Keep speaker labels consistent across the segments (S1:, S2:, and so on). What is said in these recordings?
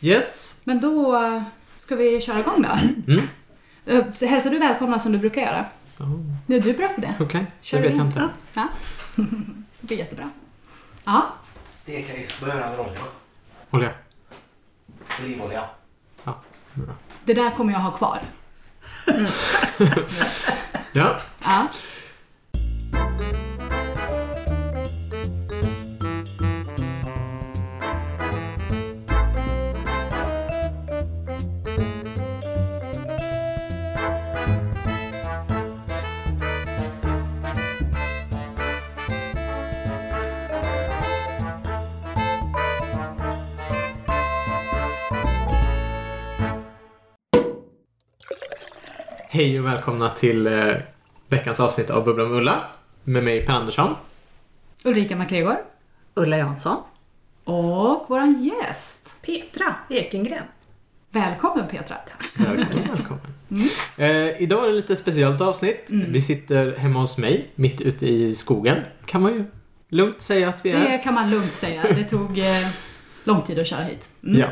S1: Yes.
S2: Men då eh, ska vi köra igång då.
S1: Mm.
S2: Eh, så Hälsar du välkomna som du brukar göra?
S1: Ja,
S2: Nu är du bra på det.
S1: Oh, Okej,
S2: Kör
S1: det vet
S2: du
S1: jag
S2: inte
S1: inte.
S2: då? Ja. Det blir jättebra. Ja,
S3: Steka i smörande olja.
S1: Olja.
S3: Olivolja.
S2: det där kommer jag ha kvar.
S1: Ja.
S2: Ja.
S1: Hej och välkomna till eh, veckans avsnitt av Bubbla med Ulla. Med mig Per Andersson.
S2: Ulrika MacGregor.
S4: Ulla Jansson.
S2: Och våran gäst.
S4: Petra Ekengren.
S2: Välkommen Petra.
S1: Välkommen, välkommen. Eh, idag är det lite speciellt avsnitt. Vi sitter hemma hos mig, mitt ute i skogen. Kan man ju lugnt säga att vi är.
S2: Det kan man lugnt säga. Det tog eh, lång tid att köra hit. Mm.
S1: Ja.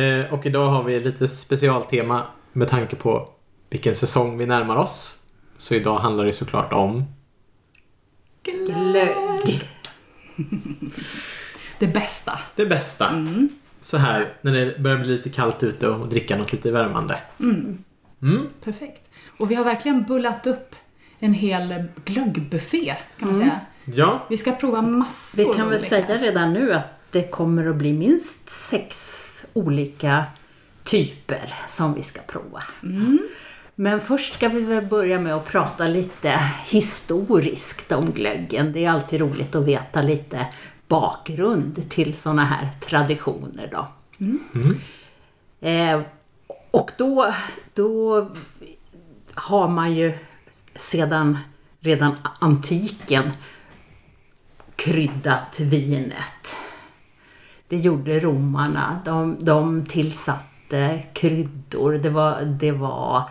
S1: Eh, och idag har vi lite specialtema med tanke på vilken säsong vi närmar oss. Så idag handlar det såklart om
S4: Glögg.
S2: Det bästa.
S1: det bästa.
S4: Mm.
S1: Så här när det börjar bli lite kallt ute och dricka något lite värmande. Mm.
S2: Perfekt. Och vi har verkligen bullat upp en hel glöggbuffé kan man säga.
S1: Ja,
S2: Vi ska prova massor
S4: Vi kan väl
S2: olika.
S4: säga redan nu att det kommer att bli minst sex olika typer som vi ska prova. Men först ska vi väl börja med att prata lite historiskt om glöggen. Det är alltid roligt att veta lite bakgrund till sådana här traditioner. Då. Eh, och då, då har man ju sedan redan antiken kryddat vinet. Det gjorde romarna. De, de tillsatte kryddor. Det var, det var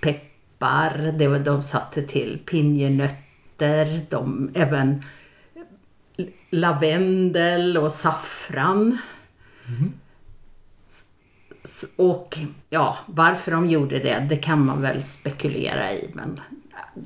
S4: peppar, det var, de satte till pinjenötter, de, även l- lavendel och saffran. S- Och ja, varför de gjorde det, det kan man väl spekulera i. Men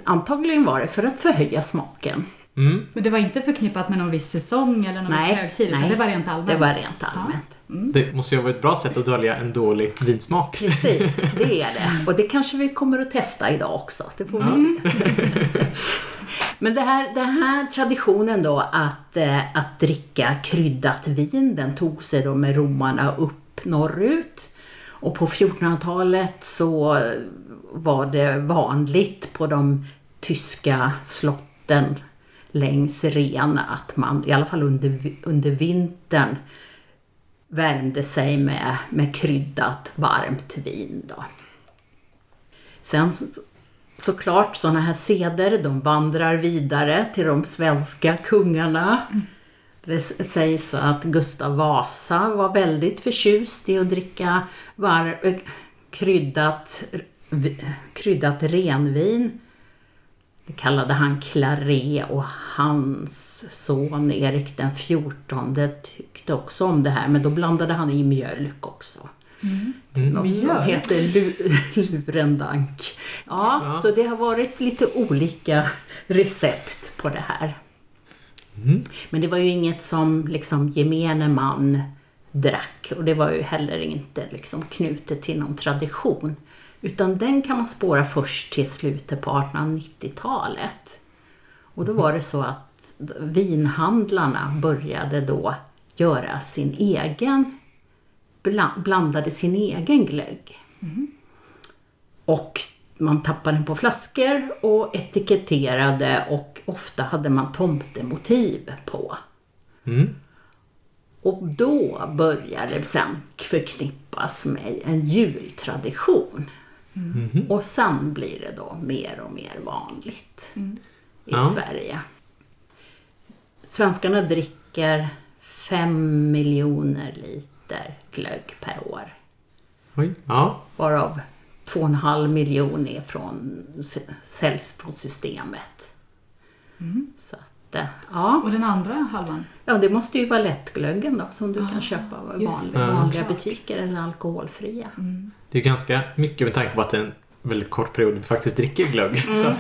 S4: antagligen var det för att förhöja smaken.
S1: mm.
S2: Men det var inte förknippat med någon viss säsong eller någon viss högtid, utan det var rent allmänt.
S4: Det var rent allmänt.
S1: det måste ju vara ett bra sätt att dölja en dålig vinsmak.
S4: Precis, det är det. Och det kanske vi kommer att testa idag också. Det får vi se. Men det här, den här traditionen då att, eh, att dricka kryddat vin, den tog sig då med romarna upp norrut. Och på 1400-talet så var det vanligt på de tyska slotten längs Ren att man, i alla fall under, under vintern, värmde sig med, med kryddat varmt vin. Då. Sen så, såklart sådana här seder, de vandrar vidare till de svenska kungarna. Det s- sägs att Gustav Vasa var väldigt förtjust i att dricka var, eh, kryddat, vi- kryddat renvin. Det kallade han Claré och hans son Erik den 14 tyckte också om det här, men då blandade han i mjölk också.
S1: Mm.
S4: Något som
S2: Mjölk?
S4: heter lu- lurendank. Ja,
S1: Ja.
S4: så det har varit lite olika recept på det här. Men det var ju inget som liksom gemene man drack och det var ju heller inte liksom knutet till någon tradition. Utan den kan man spåra först till slutet på 1890-talet. Och då var det så att vinhandlarna började då göra sin egen, bla- blandade sin egen glögg. Och man tappade den på flaskor och etiketterade och ofta hade man tomtemotiv på.
S1: Mm.
S4: Och då började det sen förknippas med en jultradition.
S1: Mm-hmm.
S4: Och sen blir det då mer och mer vanligt i
S1: Ja.
S4: Sverige. Svenskarna dricker 5 miljoner liter glögg per år
S1: Oj, ja.
S4: varav 2,5
S2: Mm.
S4: miljon är från, säljs från systemet. Så att jätte... Ja.
S2: Och den andra halvan?
S4: ja, det måste ju vara lättglöggen då som du kan köpa i
S2: just
S4: vanliga,
S1: det.
S4: vanliga
S2: Såklart.
S4: butiker eller alkoholfria.
S1: Det är ganska mycket med tanke på att det är en väldigt kort period vi faktiskt dricker glögg.
S4: Mm.
S1: Så att,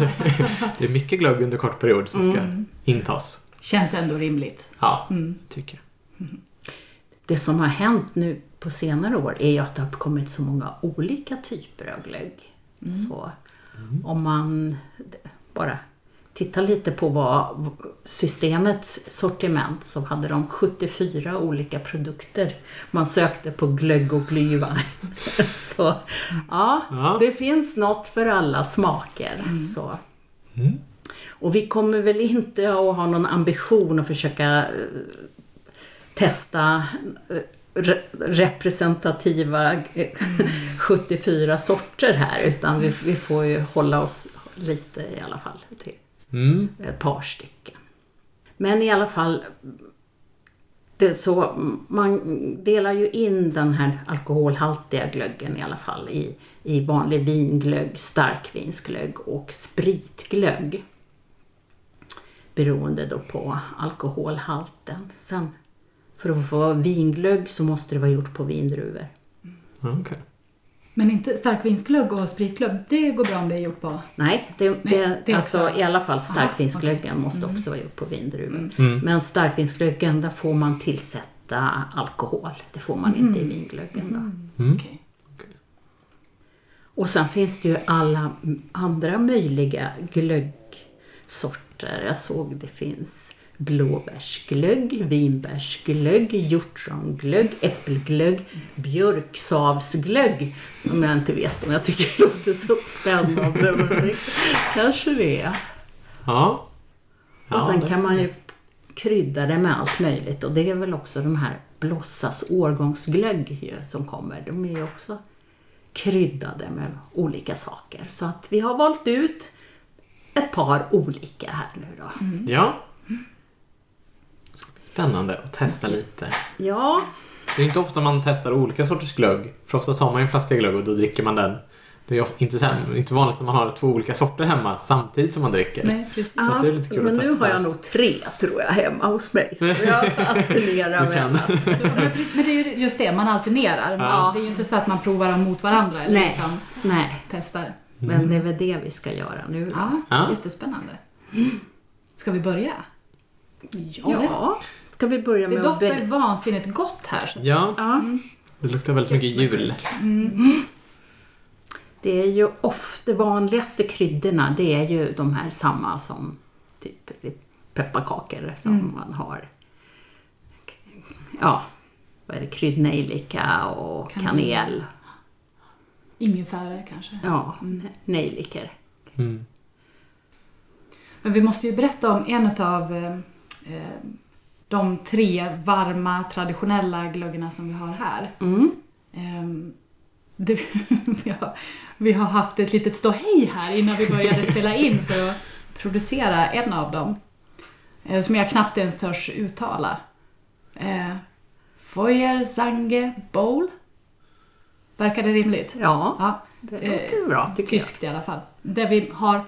S1: det är mycket glögg under kort period som ska intas.
S2: Känns ändå rimligt.
S1: Ja,
S4: Mm.
S1: tycker jag.
S4: Det som har hänt nu på senare år är ju att det har kommit så många olika typer av glögg. Så om man bara tittar lite på vad systemets sortiment så hade de 74 olika produkter. Man sökte på glögg och glühwein. så ja,
S1: Ja.
S4: det finns något för alla smaker. Så. Och vi kommer väl inte att ha någon ambition att försöka eh, testa eh, re- representativa eh, 74 sorter här utan vi, vi får ju hålla oss lite i alla fall till
S1: Mm.
S4: ett par stycken. Men i alla fall, det, så man delar ju in den här alkoholhaltiga glöggen i alla fall i, i vanlig vinglögg, starkvinsglögg och spritglögg. Beroende då på alkoholhalten. Sen, för att få vara vinglögg så måste det vara gjort på vindruvor.
S1: Ja, okej.
S2: Men inte starkvinsglögg och spritglögg, det går bra om det är gjort på...
S4: Nej, det, det,
S2: det är
S4: alltså,
S2: också-
S4: i alla fall starkvinsglöggen måste också vara gjord på vindruvor. Men starkvinsglöggen, där får man tillsätta alkohol. Det får man inte i vinglöggen. Då.
S1: Mm.
S2: Okej.
S4: Och sen finns det ju alla m- andra möjliga glöggsorter. Jag såg det finns blåbärsglögg, vinbärsglögg, hjortronglögg, äppelglögg, björksavsglögg. Som jag inte vet om jag tycker låter så spännande, men det kanske det är.
S1: Ja. Ja,
S4: Och sen
S1: det-
S4: kan man ju krydda det med allt möjligt och det är väl också de här Blossas årgångsglögg ju, som kommer. De är ju också kryddade med olika saker. Så att vi har valt ut ett par olika här nu då.
S1: Ja. Spännande att testa lite.
S4: Ja,
S1: Det är inte ofta man testar olika sorters glögg. För oftast har man ju en flaska glögg och då dricker man den. Det är ju of- inte, så här, inte vanligt att man har två olika sorter hemma samtidigt som man dricker.
S2: Nej, precis.
S1: Så att det är lite kul
S4: men
S1: att
S4: nu
S1: testa.
S4: har jag nog tre tror jag hemma hos mig. Så jag alternerar
S1: Du kan.
S4: mellan.
S2: Men, men det är ju just det, man alternerar. Man-
S1: Ja.
S2: Det är ju inte så att man provar dem mot varandra eller
S4: Nej.
S2: liksom
S4: Nej,
S2: testar.
S4: men
S1: Mm.
S4: det är väl det vi ska göra nu då.
S2: Ja,
S1: Ja.
S2: jättespännande. Ska vi börja?
S4: Ja, ska vi
S2: Det
S4: börja med att...
S2: doftar ju
S4: be-
S2: vansinnigt gott här.
S1: Ja,
S4: Ja.
S1: det luktar väldigt mycket jul.
S4: Det är ju ofta, de vanligaste kryddorna, det är ju de här samma som typ pepparkakor som
S2: Mm.
S4: man har. Ja, vad är det? Kryddnejlika och
S2: Kanel.
S4: kanel.
S2: Ingefära kanske.
S4: Ja, ne- nejlikor.
S1: Mm.
S2: Men vi måste ju berätta om en av de tre varma traditionella glöggarna som vi har här.
S4: Mm.
S2: Ehm, det, vi, har, vi har haft ett litet ståhej här innan vi började spela in för att producera en av dem. eh, Som jag knappt ens törs uttala. Eh, Feuerzange Bowl. Verkar det rimligt?
S4: Ja,
S2: Ja,
S4: det
S2: Eh,
S4: låter bra tycker jag.
S2: tyskt i alla fall. Där vi har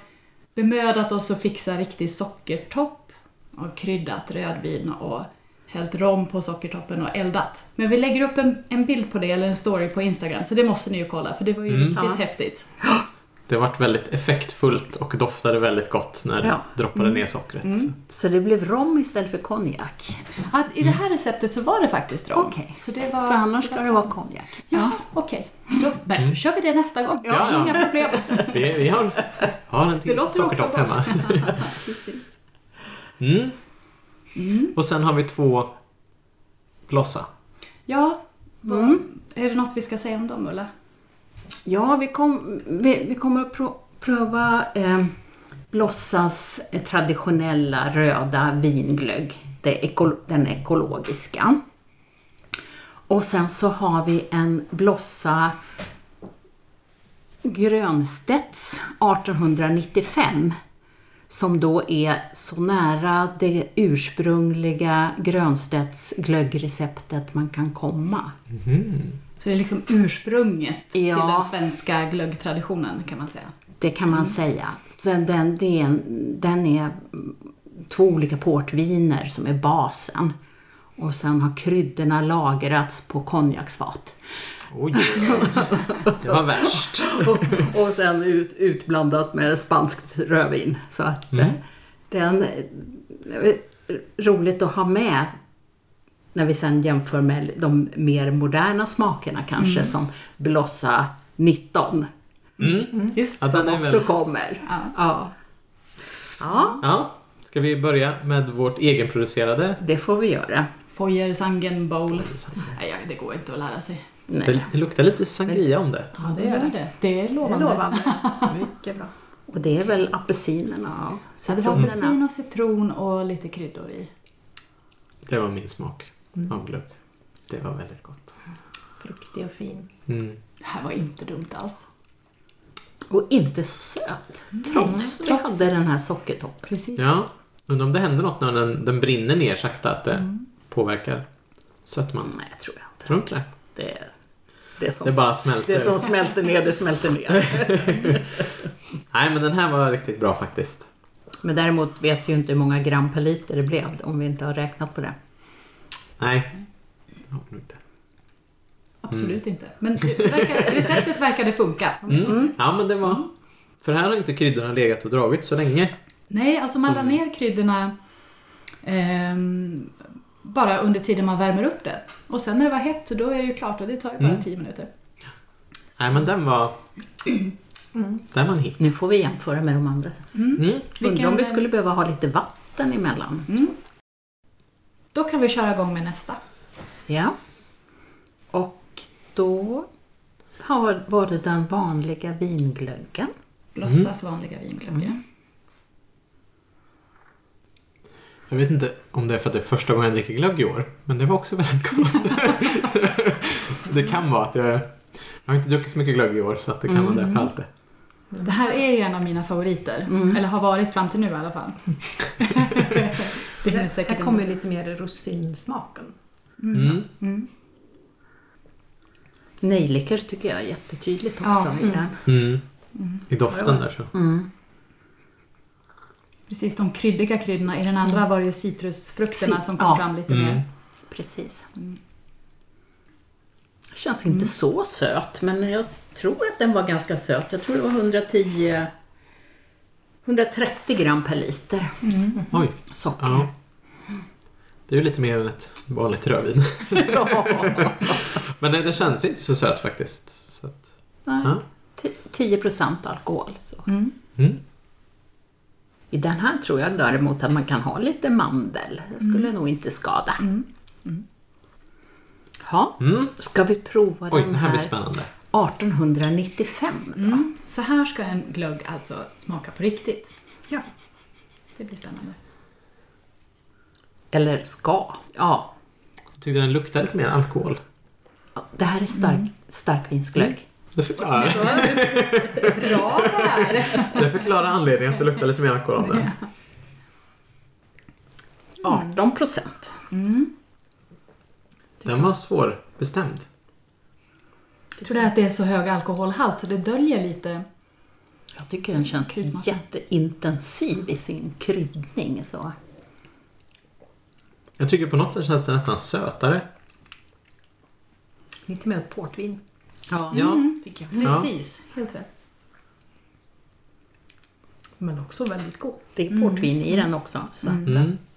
S2: bemödat oss att fixa riktig sockertopp och kryddat rödvin och hällt rom på sockertoppen och eldat. Men vi lägger upp en, en bild på det, eller en story på Instagram, så det måste ni ju kolla för det var ju riktigt
S4: Ja.
S2: häftigt.
S1: Det har varit väldigt effektfullt och doftade väldigt gott när det
S4: Ja.
S1: droppade
S2: Mm.
S1: ner sockret.
S4: Så det blev rom istället för konjak.
S2: Ja, I det här receptet så var det faktiskt rom.
S4: Okej.
S2: Så det var...
S4: För annars ska det vara konjak.
S2: Ja, okej. Då, men, då kör vi det nästa gång.
S1: Ja, ja.
S2: Inga problem.
S1: Vi, vi har, har en
S2: Det
S1: till
S2: låter också
S1: sockertopp
S2: gott.
S1: hemma.
S2: Precis.
S1: Mm.
S2: Mm.
S1: Och sen har vi två Blossa.
S2: Ja, vad-
S4: Mm.
S2: är det något vi ska säga om dem, Ulla?
S4: Ja, vi, kom, vi, vi kommer att pro, pröva eh, Blossas eh, traditionella röda vinglögg, det eko, den ekologiska. Och sen så har vi en Blossa Grönstedts 1895 som då är så nära det ursprungliga Grönstedts glöggreceptet man kan komma.
S2: Så det är liksom ursprunget till
S4: Ja.
S2: den svenska
S4: Mm.
S2: glöggtraditionen kan man säga.
S4: Det kan man säga. Sen den, det är en, den är två olika portviner som är basen. Och sen har kryddorna lagrats på konjaksfat.
S1: Oj, det var värst.
S4: Och, och sen ut, utblandat med spanskt rödvin. Så att eh, den eh, roligt att ha med när vi sen jämför med de mer moderna smakerna kanske som Blossa 19
S1: Mm.
S2: Just
S1: Ja,
S2: det.
S1: den
S4: som
S1: är
S4: också
S1: väl...
S4: kommer.
S2: Ja.
S4: Ja. ja,
S1: Ja, ska vi börja med vårt egenproducerade?
S4: det får vi göra.
S2: Foyer Sangen Bowl. Nej, ja, det går inte att lära sig.
S4: Nej.
S1: Det det luktar lite sangria om det.
S2: Ja, det gör det. Det är
S5: Det är
S2: lovande.
S5: lovande. Mycket bra.
S4: Och det är väl apelsinerna och
S2: Så det var
S1: Mm.
S4: citronerna.
S2: apelsin och citron och lite kryddor i.
S1: Det var min smak av glögg. Det var väldigt gott.
S5: Fruktig och fin.
S1: Mm.
S2: Det här var inte dumt alls.
S4: Och inte så söt. Trots vi
S2: Trots-
S4: hade den här sockertoppen.
S2: Precis.
S1: Ja, undrar om det händer något när den, den brinner ner sakta att det påverkar sötman.
S4: Nej, jag tror jag inte.
S1: Tror du inte det?
S4: Det, det, som,
S1: Det bara smälter
S4: det som
S1: ut.
S4: smälter ner, det smälter ner.
S1: Nej, men den här var riktigt bra faktiskt.
S4: Men däremot vet vi ju inte hur många gram per liter det blev om vi inte har räknat på det.
S1: Nej, det har vi inte.
S2: Absolut inte. Men det verkar, receptet verkade funka.
S1: Mm. Ja, men det var... För här har inte kryddorna legat och dragit så länge.
S2: Nej, alltså man la
S1: Som-
S2: ner kryddorna ehm, bara under tiden man värmer upp det. Och sen när det var hett, då är det ju klart och det tar ju bara
S1: Mm.
S2: 10 minuter.
S1: Nej, men den var... Den var en hit.
S4: Nu får vi jämföra med de andra.
S1: Mm.
S4: Undrar om
S2: Vilken-
S4: vi skulle behöva ha lite vatten emellan.
S2: Då kan vi köra igång med nästa.
S4: Ja. Och då har, var det den vanliga vinglöggen.
S2: Blossas vanliga vinglögg.
S1: Jag vet inte om det är för att det är första gången jag dricker glögg i år, men det var också väldigt gott. det kan vara att jag... Jag har inte druckit så mycket glögg i år, så att det kan vara därför allt det.
S2: Det här är ju en av mina favoriter. Eller har varit fram till nu i alla fall. det hinner säkert
S5: Här kommer lite mer russinsmaken.
S1: Mm.
S4: Nejlikor tycker jag är jättetydligt också. Mm.
S2: Ja,
S4: i den.
S1: Mm. I doften där så.
S2: Precis, de kryddiga kryddorna. I den andra var det ju citrusfrukterna
S4: Cit-
S2: som kom
S4: ja.
S2: fram lite
S1: Mm.
S2: mer.
S4: Precis. Känns inte så söt, men jag tror att den var ganska söt. Jag tror det var 110 130 gram per liter
S1: Oj.
S4: socker.
S1: Ja. Det är ju lite mer än ett vanligt rödvin. Men nej, det känns inte så söt faktiskt. Så att,
S4: Nej,
S1: ja.
S4: 10 procent alkohol. Så.
S1: mm.
S4: I den här tror jag däremot att man kan ha lite mandel. Det skulle nog inte skada. Ja,
S1: Mm.
S4: ska vi prova
S1: Oj,
S4: den
S1: det här blir spännande.
S4: 1895 då?
S2: Mm. Så här ska en glögg alltså smaka på riktigt.
S5: Ja.
S2: Det blir spännande.
S4: Eller ska? Ja,
S1: Jag tyckte den luktade lite mer alkohol.
S4: Ja, Det här är stark, starkvinsglögg.
S1: Det förklarar,
S2: Bra där!
S1: det förklarar anledningen att det luktar lite mer alkohol av den.
S4: 18 procent.
S1: Den var svårbestämd.
S2: Jag tror det är att det är så hög alkoholhalt så det döljer lite.
S4: Jag tycker den känns
S2: Kryddsmaken.
S4: jätteintensiv i sin kryddning. Så.
S1: Jag tycker på något sätt känns det nästan sötare.
S5: Lite mer portvin,
S4: Ja.
S1: Ja.
S5: tycker jag.
S1: Ja.
S2: Precis, helt rätt.
S5: Men också väldigt god.
S4: Det är portvin i den också. Så att,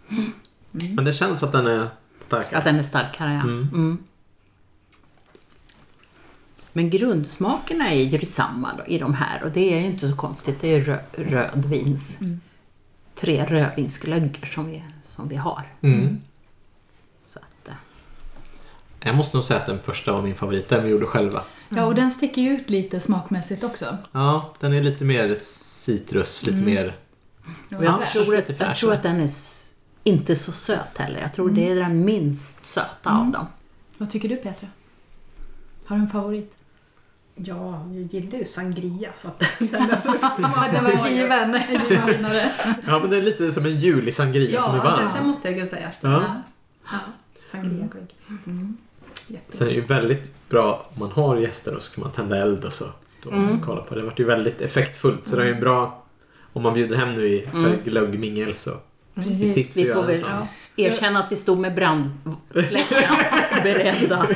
S1: Mm. Men det känns att den är starkare.
S4: att den är starkare. Ja.
S1: Mm.
S4: Mm. Men grundsmakerna är ju samma då, i de här och det är ju inte så konstigt. Det är rö rödvins. Tre rödvinsglöggar som vi, som vi har.
S1: Mm.
S4: Så att, eh,
S1: Jag måste nog säga att den första var min favorit, den vi gjorde själva.
S2: Ja, och den sticker ju ut lite smakmässigt också.
S1: Ja, den är lite mer citrus, lite mer...
S2: Det var
S4: Mm. Och jag,
S1: Ja,
S2: fräscht.
S1: känns
S4: tror
S1: lite
S4: att, jag
S1: fräsch,
S4: tror
S1: va?
S4: att den är s- inte så söt heller. Jag
S1: Mm.
S4: tror det är den minst söta av dem.
S2: Vad tycker du Petra? Har du en favorit?
S5: Ja, jag gillar ju sangria så att den
S2: Ja, den var given. Given vinnare.
S1: Ja, men det är lite som en julig sangria som är varm.
S5: det, det måste jag ju säga.
S1: Ja.
S5: Ja. Sangria glögg.
S1: Mm.
S5: Jättegott.
S1: Sen är det ju väldigt bra om man har gäster och så kan man tända eld och så stå och
S4: Mm.
S1: kolla på. Det vart ju väldigt effektfullt så det är ju bra om man bjuder hem nu i för glöggmingel så Det är
S2: Precis.
S1: tips
S4: Mm. Vi
S1: att
S4: får
S1: göra
S4: väl-
S1: en sån.
S2: Ja.
S4: Erkänn att vi stod med brandsläckare beredda.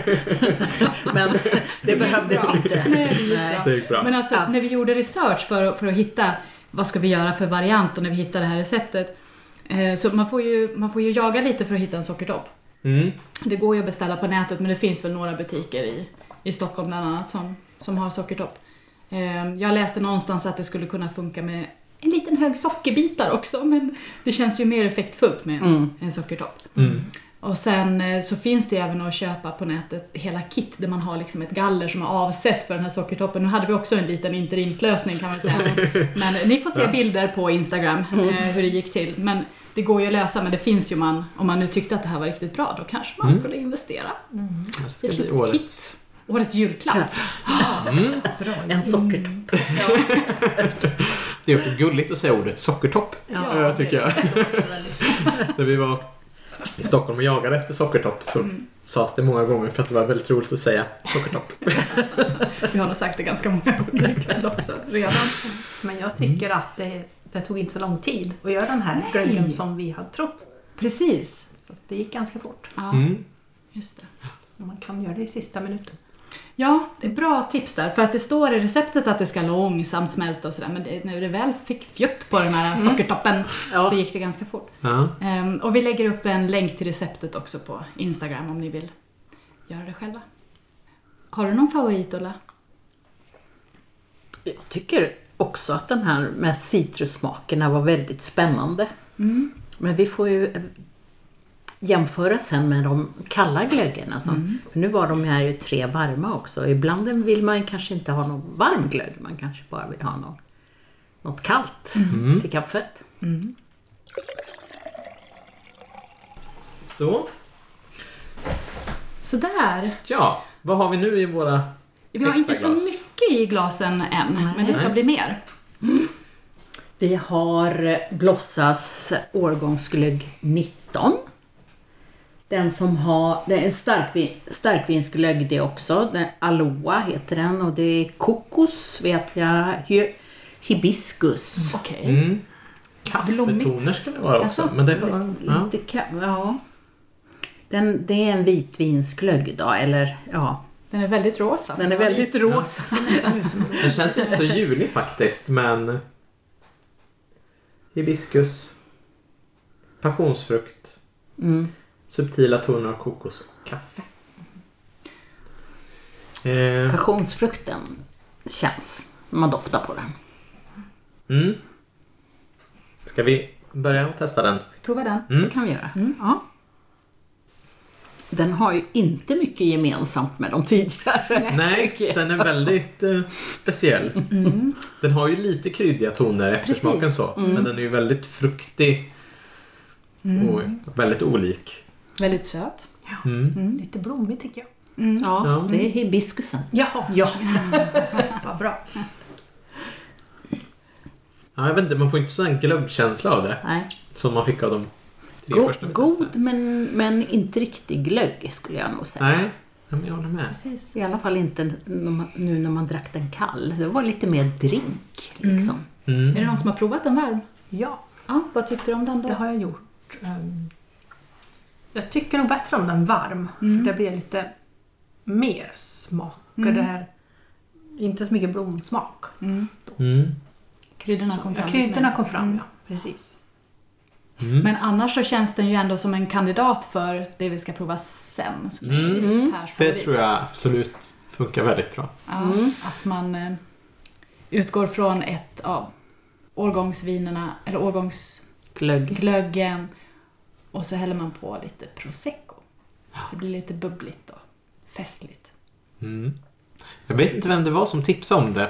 S4: Men det behövdes inte. Nej.
S1: Det gick bra.
S2: Men alltså, när vi gjorde research för, för att hitta vad ska vi göra för variant och när vi hittade det här receptet. eh, Så man får, ju, man får ju jaga lite för att hitta en sockertopp.
S1: Mm.
S2: Det går ju att beställa på nätet men det finns väl några butiker i, i Stockholm bland annat som, som har sockertopp. Eh, Jag läste någonstans att det skulle kunna funka med en liten hög sockerbitar också men det känns ju mer effektfullt med
S4: Mm.
S2: en sockertopp.
S1: Mm.
S2: Och sen eh, så finns det ju även att köpa på nätet hela kit där man har liksom ett galler som är avsett för den här sockertoppen. Nu hade vi också en liten interimslösning kan man säga. Men eh, ni får se bilder på Instagram
S1: Mm.
S2: eh, hur det gick till. Men det går ju att lösa, men det finns ju man, om man nu tyckte att det här var riktigt bra, då kanske man
S1: Mm.
S2: skulle investera
S5: Mm.
S1: Det
S2: i
S1: ska
S2: ett
S1: bli
S2: litet
S1: året.
S2: kit. Årets julklapp.
S4: Klapp.
S1: Mm.
S4: En sockertopp.
S1: Det är också gulligt att säga ordet sockertopp.
S2: Ja,
S1: eh, tycker jag. När vi var i Stockholm och jagade efter sockertopp så
S2: Mm.
S1: sades det många gånger för att det var väldigt roligt att säga sockertopp.
S2: Vi har nog sagt det ganska många gånger ikväll också redan.
S1: Mm.
S5: Men jag tycker att det, det tog inte så lång tid att göra den här glöggen som vi hade trott.
S2: Precis.
S5: Så det gick ganska fort.
S2: Ja,
S1: Mm.
S2: just det.
S5: Och Man kan göra det i sista minuten.
S2: Ja, det är bra tips där. För att det står i receptet att det ska långsamt smälta och sådär. Men det, när det väl fick fjutt på den här sockertoppen
S4: Ja.
S2: så gick det ganska fort.
S1: Ja.
S2: Ehm, och vi lägger upp en länk till receptet också på Instagram om ni vill göra det själva. Har du någon favorit Ulla?
S4: Jag tycker också att den här med citrussmakerna var väldigt spännande. Men vi får ju eh, jämföra sen med de kalla glöggarna. Som, för nu var de här ju tre varma också. Ibland vill man kanske inte ha någon varm glögg. Man kanske bara vill ha någon, något kallt till kaffet.
S1: Så,
S2: Sådär!
S1: ja. Vad har vi nu i våra
S2: Vi har inte så
S1: Extra glas.
S2: mycket i glasen än, men det ska
S1: Nej.
S2: bli mer.
S4: Vi har Blossas årgångsglögg 19. Den som har, det är en starkvin, starkvinsglögg det också. Den, Aloa heter den och det är kokos vet jag, hy- hibiskus.
S2: Okej.
S1: mm,
S2: Eh, Blommigt. Alltså,
S1: kaffetoner ska det vara också?
S2: Jaså?
S1: Men det var, ja.
S4: Lite ka- ja. Den, det är en vitvinsglögg då, eller ja.
S2: Den är väldigt rosa.
S4: Den är väldigt rosa.
S1: Den känns inte så julig faktiskt, men hibiskus, passionsfrukt,
S4: Mm.
S1: subtila toner av kokos och kaffe. Eh,
S4: Passionsfrukten känns när man doftar på den.
S1: mm. Ska vi börja och testa den?
S2: Prova den.
S4: Det kan vi göra. Ja. Den har ju inte mycket gemensamt med de tidigare.
S1: Nej, den är väldigt eh, speciell. Den har ju lite kryddiga toner efter
S2: Precis.
S1: smaken så, men den är ju väldigt fruktig och väldigt olik.
S2: Väldigt söt.
S1: Mm.
S5: Lite blommig tycker jag.
S4: Mm. Ja,
S1: Ja.
S4: det är hibiskusen.
S5: Jaha,
S4: Ja.
S5: vad bra.
S1: Ja, jag vet inte, man får inte sån här glöggkänsla av det
S4: Nej.
S1: som man fick av de tre
S4: Go-
S1: första vi
S4: god
S1: testade.
S4: men, men inte riktig glögg skulle jag nog säga.
S1: Nej, ja, men jag håller med.
S2: Precis.
S4: I alla fall inte när man- nu när man drack den kall. Det var lite mer drink. Liksom.
S1: Mm.
S2: Är det någon som har provat den varm?
S5: Ja,
S2: Ja, vad tyckte du om den då?
S5: det har jag gjort. ehm, Jag tycker nog bättre om den varm. För det blir lite mer smak. Och det här, inte så mycket blomsmak.
S1: Mm.
S2: Kryddorna kom
S5: Ja,
S2: fram. lite mer.
S5: kryddorna kom fram, ja. Mm, Precis.
S1: Mm.
S2: Men annars så känns den ju ändå som en kandidat för det vi ska prova sen. Som är
S4: Mm. Mm.
S2: Pers
S1: Det
S2: favorit.
S1: tror jag absolut funkar väldigt bra.
S2: Ja, Att man eh, utgår från ett av årgångsvinerna, eller årgångsglöggen,
S4: Glögg.
S2: och så häller man på lite prosecco. Så det blir lite bubbligt och festligt.
S1: Mm. Jag vet inte vem det var som tipsade om det.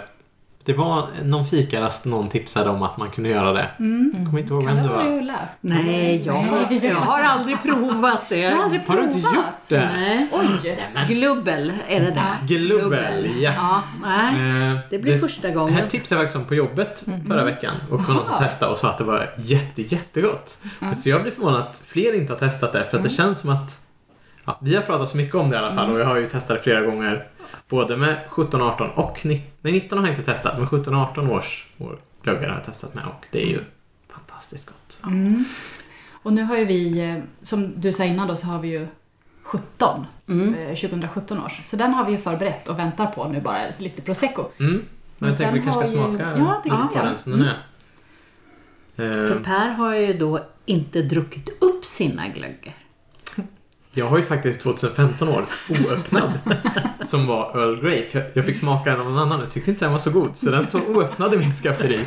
S1: Det var någon fikarast någon tipsade om att man kunde göra det. Jag kommer inte ihåg
S2: Kan
S1: vem
S2: det
S1: det
S2: vara
S1: var.
S2: Ulla?
S4: Nej, jag,
S2: Nej.
S4: jag har aldrig provat det.
S2: Du har aldrig
S1: Har du
S2: provat?
S1: inte gjort det?
S4: Nej.
S2: Oj!
S4: Glubbel är det där.
S1: Glubbel, ja.
S4: Ja, nej.
S1: Eh,
S4: Det blir första
S1: Det här
S4: gången.
S1: tipsade jag faktiskt om på jobbet förra veckan. Och det var någon som
S2: Jaha.
S1: testade och sa att det var jätte, jättegott.
S2: Ja.
S1: Så jag blir förvånad att fler inte har testat det. För att det känns som att ja, vi har pratat så mycket om det i alla fall. Och jag har ju testat det flera gånger. Både med 17, 18 och 19. Nej, 19 har jag inte testat. Men 17, 18 års år, glöggar har jag testat med. Och det är ju fantastiskt gott.
S2: Och nu har ju vi, eh, som du sa innan då, så har vi ju 17,
S4: Mm.
S2: eh, 2017 års. Så den har vi ju förberett och väntar på nu bara, lite prosecco.
S1: Mm. Men
S2: Men
S1: jag tänkte vi
S2: sen
S1: kanske ska
S2: har ju-
S1: smaka
S2: Ja, det kan
S1: lite på
S2: vi göra. Mm.
S1: den som den är. Eh,
S4: För Per har ju då inte druckit upp sina glöggar.
S1: Jag har ju faktiskt 2015 år oöppnad som var Earl Grey. För jag- Jag fick smaka den av någon annan och tyckte inte den var så god så den står oöppnad i mitt skafferi.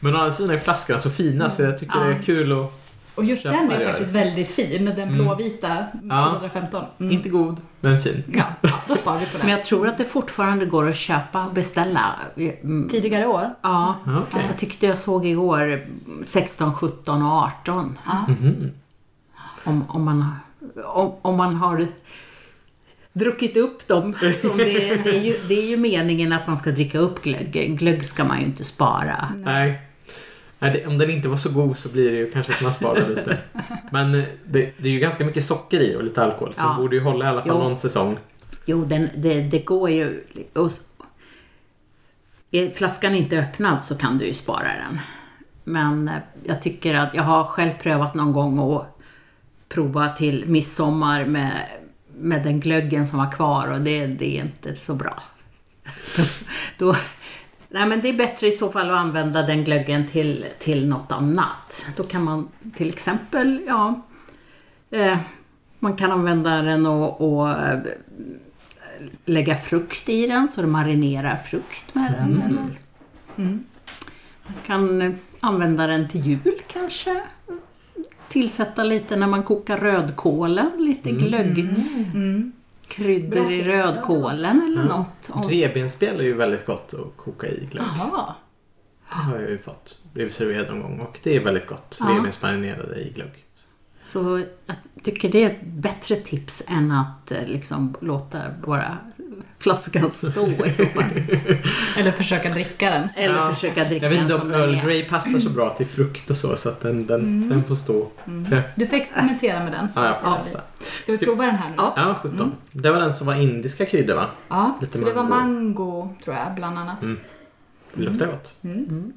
S1: Men å andra sidan är flaskorna så fina så jag tycker det är kul och
S2: Och just
S1: Kämpar
S2: den
S1: gör
S2: är
S1: det.
S2: faktiskt väldigt fin, den blåvita
S1: Ja.
S2: 2015. Mm.
S1: inte god men fin.
S2: Ja, då sparar vi på
S4: Men
S2: den.
S4: jag tror att det fortfarande går att köpa och beställa. Mm.
S2: Tidigare år?
S4: Ja,
S1: Ja, Okej.
S4: jag tyckte jag såg igår 16, 17 och 18.
S2: Ja.
S4: Om, om, man, om, om man har druckit upp dem. Som det, det, är ju, det är ju meningen att man ska dricka upp glögg. Glögg ska man ju inte spara.
S1: Nej. Nej det, om den inte var så god så blir det ju kanske att man sparar lite. Men eh, det, det är ju ganska mycket socker i och lite alkohol så
S4: Ja.
S1: den borde ju hålla i alla fall
S4: Jo.
S1: någon säsong.
S4: Jo, den, det, det går ju... Och, s- är flaskan inte öppnad så kan du ju spara den. Men eh, jag tycker att jag har själv prövat någon gång att prova till midsommar med, med den glöggen som var kvar och det, det är inte så bra. Då, nej, men det är bättre i så fall att använda den glöggen till, till något annat. Då kan man till exempel, ja, eh, man kan använda den och, och eh, lägga frukt i den så du marinerar frukt med
S2: Mm.
S4: den. Eller? Man kan eh, använda den till jul kanske. Tillsätta lite när man kokar rödkålen, lite glöggkryddor
S2: Mm. Bra
S4: i
S2: tips.
S4: rödkålen eller
S1: Mm.
S4: något. Och-
S1: Revbensspjäll är ju väldigt gott att koka i glögg.
S2: Jaha.
S1: Det har jag ju fått. Blev serverad någon gång och det är väldigt gott.
S4: Ja.
S1: Revbensmarinerade i glögg.
S4: Så jag tycker det är ett bättre tips än att eh, liksom låta bara flaskan stå i så fall.
S2: Eller försöka dricka den.
S4: Eller
S1: Ja.
S4: försöka dricka
S1: Jag vet
S4: den
S1: inte
S4: som
S1: om
S4: den
S1: Earl
S4: är.
S1: Grey passar så bra till frukt och så, så att den, den, den får stå. Ja,
S2: Du får experimentera med den.
S1: jag får
S2: Ja.
S1: testa.
S2: Ska vi prova den här nu?
S4: Ja.
S1: Ja, 17. Det var den som var indiska kryddor, va?
S2: Ja,
S1: Lite
S2: så det var
S1: mango. Mm.
S2: mango tror jag bland annat.
S1: Det luktar gott. Mm.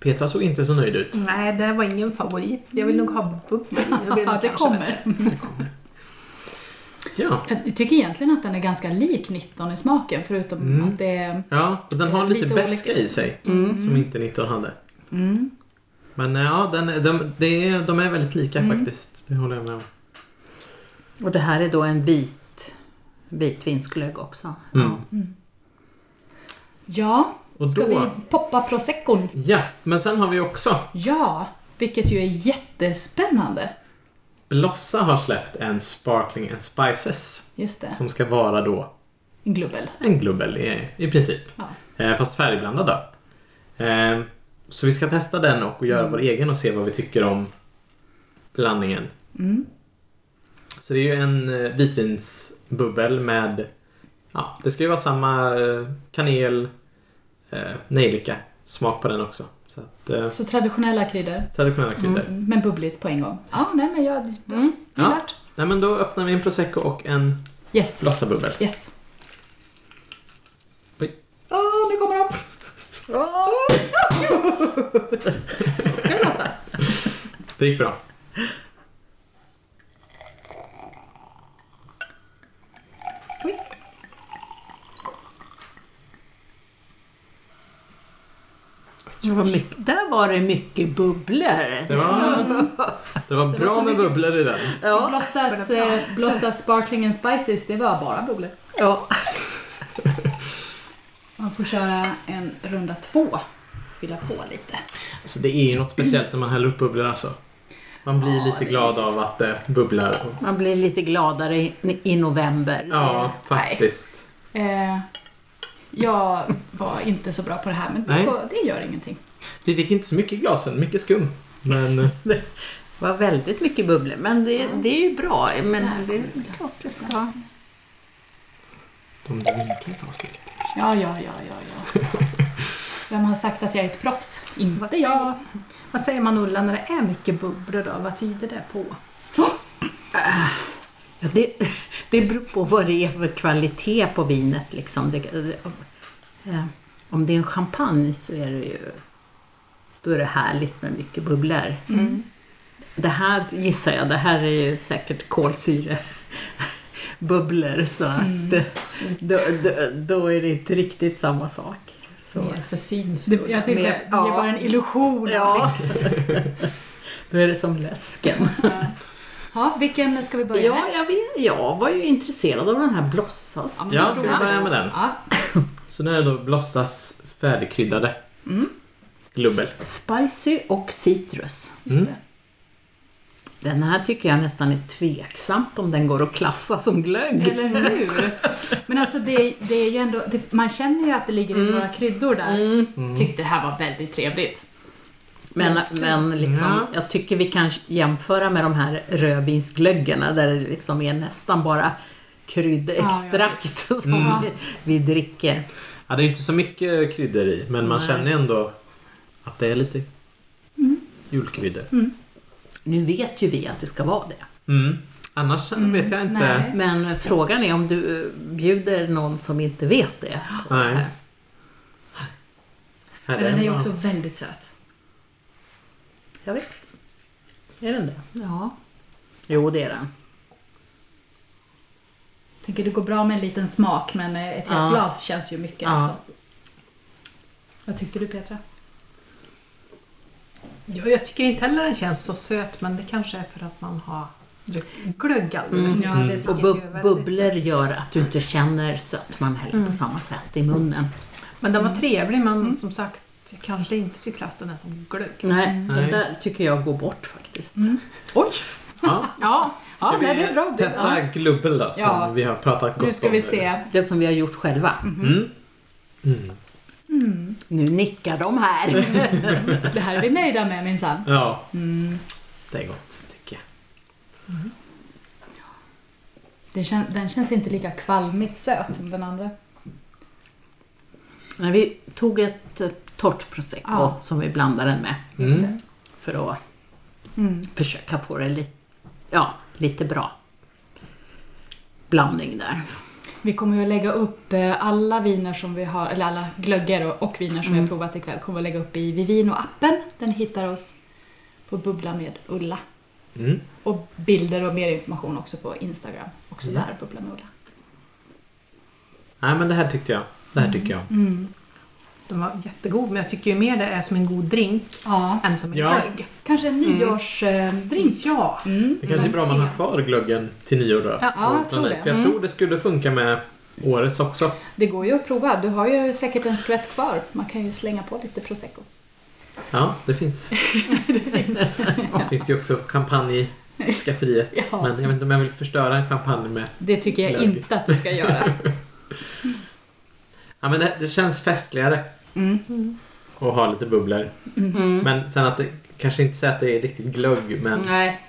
S1: Petra såg inte så nöjd ut.
S5: Nej, det här var ingen favorit. Jag vill nog ha bubbel i, så blir
S2: Ja, det
S5: kanske
S2: kommer.
S5: bättre.
S1: Ja,
S2: Jag tycker egentligen att den är ganska lik 19 i smaken förutom
S1: Mm.
S2: att det är...
S1: ja och den har
S2: Lite
S1: lite, lite
S2: olika.
S1: beska i sig, som inte 19 hade. Men eh, ja, den, de, de, är, de är väldigt lika faktiskt. Det håller jag med om.
S4: Och det här är då en vit, vit vinsglögg också.
S1: Mm.
S4: Ja.
S2: Ja,
S1: Och
S2: ska
S1: då...
S2: vi poppa proseccon?
S1: Ja, men sen har vi också
S2: Ja, vilket ju är jättespännande.
S1: Blossa har släppt en Sparkling and Spices
S2: Just det,
S1: som ska vara då
S2: glubbel.
S1: en glubbel i, i princip.
S2: Ja.
S1: Eh, fast färgblandad då. Eh, så vi ska testa den och göra
S2: Mm.
S1: vår egen och se vad vi tycker om blandningen.
S2: Mm.
S1: Så det är ju en eh, vitvinsbubbel med, ja, det ska ju vara samma eh, kanel, eh, nejlika smak på den också. Så att, eh,
S2: Så traditionella kryddor,
S1: traditionella kryddor.
S2: mm, men bubbligt på en gång. Ja, nej men jag...
S4: Mm.
S1: Ja.
S2: Gillar't.
S1: Nej men då öppnar vi en prosecco och en
S2: Yes.
S1: blossabubbel.
S2: Yes.
S1: Oj.
S2: Åh, nu kommer de! Så ska det låta.
S1: Det gick bra.
S4: Det var mycket, där var det mycket bubblor.
S1: Det var, det var
S2: var så
S1: bra med
S2: mycket-
S1: bubblor i den.
S4: Ja,
S2: Blossas, eh, blossas sparkling and spices, det var bara bubblor.
S4: ja.
S2: Man får köra en runda två. Fylla på lite.
S1: Alltså, det är ju något speciellt när man häller upp bubblor alltså. Man blir
S2: Ja, det
S1: lite
S2: är
S1: glad
S2: mysigt.
S1: av att det bubblar. Och,
S4: Man blir lite gladare i, i november.
S1: ja, faktiskt.
S2: Eh, jag var inte så bra på det här, men det,
S1: Nej.
S2: får, det gör ingenting.
S1: Vi fick inte så mycket i glasen, mycket skum. Men eh,
S4: Det var väldigt mycket bubblor. Men det, det är ju bra. Men det,
S2: Glass, glass.
S1: de drinkar glasen.
S2: Ja, ja, ja, ja, ja. Vem har sagt att jag är ett proffs?
S4: Mm.
S2: Inte
S5: säger-
S2: jag.
S5: Vad säger man Ulla när det är mycket bubblor då? Vad tyder det på?
S4: ja, det, det beror på vad det är för kvalitet på vinet. eh, Liksom. Det, det, om- eh, om det är en champagne så är det ju då är det härligt med mycket bubblor.
S5: Mm.
S4: Det här gissar jag, det här är ju säkert kolsyrebubblor så att
S2: Mm.
S4: eh, då, då, då är det inte riktigt samma sak. Så,
S5: Mer för syns
S2: Det,
S5: skull.
S2: jag tänkte säga,
S4: Mer-
S2: det
S4: ja.
S2: är bara en illusion.
S4: ja. Då är det som läsken.
S2: Ja, vilken ska vi börja
S4: Ja,
S2: med?
S4: jag, vet, jag var ju intresserad av den här Blossas.
S2: men
S1: Ja,
S2: då
S1: ska vi
S2: provar
S1: börja med den?
S2: Ja.
S1: Så nu är det då Blossas färdigkryddade
S2: Mm.
S1: glubbel.
S4: Spicy och citrus.
S2: Just
S1: Mm.
S2: det.
S4: Den här tycker jag nästan är tveksamt om den går att klassa som glögg.
S2: Eller hur? Men alltså det, det är ju ändå, det, man känner ju att det ligger
S4: Mm.
S2: i några kryddor där. Tyckte det här var väldigt trevligt.
S4: Men, men liksom,
S1: Ja.
S4: jag tycker vi kan jämföra med de här rödvinsglöggarna där det liksom är nästan bara kryddextrakt som
S2: Mm.
S4: vi, vi dricker.
S1: Ja, det är ju inte så mycket kryddor i, men man
S4: Nej.
S1: känner ändå att det är lite
S2: Mm.
S1: julkryddor.
S4: Nu vet ju vi att det ska vara det.
S1: Mm. Annars vet jag inte.
S2: nej.
S4: Men frågan är om du eh, bjuder någon som inte vet det. på det
S1: Nej.
S4: här.
S1: Här
S2: Men den är ju
S1: bara-
S2: också väldigt söt.
S4: Jag vet Är den det? Ja. Jo, det är den.
S2: Tänker det går bra med en liten smak men eh, ett helt
S4: Ja.
S2: glas känns ju mycket.
S4: Ja.
S2: Alltså. Vad tyckte du Petra?
S5: Ja, jag tycker inte heller den känns så söt, men det kanske är för att man har druckit glögg alldeles
S4: Mm.
S2: Ja,
S5: nyss,
S2: det är
S5: vilket
S4: Och
S5: ju är
S4: bub-
S5: väldigt
S4: bubblor
S5: sött.
S4: gör att du inte känner sötman heller på samma sätt i munnen.
S5: Men den var trevlig, men som sagt, jag kanske inte skulle klassa den här som glögg.
S4: Nej, den
S1: Nej.
S4: där tycker jag går bort faktiskt.
S2: Oj!
S1: Ja.
S2: Ja,
S1: Ska
S2: ja
S1: vi
S2: nej, det är bra. Det-
S1: testa
S2: ja.
S1: glubbel då, som
S2: Ja.
S1: vi har pratat gott om.
S2: Nu ska vi se.
S4: Det som vi har gjort själva.
S1: Mm.
S2: Mm.
S4: Nu nickar de här.
S2: Det här är vi nöjda med minsann.
S1: Ja.
S2: Mm.
S1: Det är gott, tycker jag.
S2: Den, kän, den känns inte lika kvalmigt söt som den
S1: Mm.
S2: andra.
S4: Men vi tog ett eh, torrt prosecco
S2: Ja.
S4: som vi blandade den med
S1: Mm.
S4: för att
S2: Mm.
S4: försöka få det lite, ja, lite bra blandning där.
S2: Vi kommer ju att lägga upp eh, alla viner som vi har, eller alla glöggar och, och viner
S1: Mm.
S2: som vi har provat ikväll kommer vi att lägga upp i Vivino-appen. Den hittar oss på Bubbla med Ulla.
S1: Mm.
S2: Och bilder och mer information också på Instagram. Också
S1: Mm.
S2: där, Bubbla med Ulla.
S1: Nej, men det här tyckte jag. Det
S2: Mm.
S1: här tycker jag.
S5: Den var jättegod, men jag tycker ju mer det är som en god drink
S2: Ja,
S5: än som en
S1: Ja.
S5: glögg.
S2: kanske en nyårsdrink. Mm.
S5: Ja!
S1: Det kanske är bra om man har kvar glöggen till nyår då.
S5: Ja,
S2: jag
S1: Och
S2: tror det. Mm.
S1: För jag tror det skulle funka med årets också.
S2: Det går ju att prova. Du har ju säkert en skvätt kvar. Man kan ju slänga på lite prosecco.
S1: Ja, det finns.
S2: Det finns.
S1: Det finns det ju också champagne i skafferiet.
S2: Ja.
S1: Men jag vet inte om jag vill förstöra en champagne med...
S2: Det tycker jag
S1: Glögg.
S2: inte att du ska göra.
S1: Ja, men det, det känns festligare
S2: Mm.
S1: att ha lite bubblor.
S2: Mm-hmm.
S1: Men sen att det... Kanske inte säga att det är riktigt glögg, men...
S4: Nej.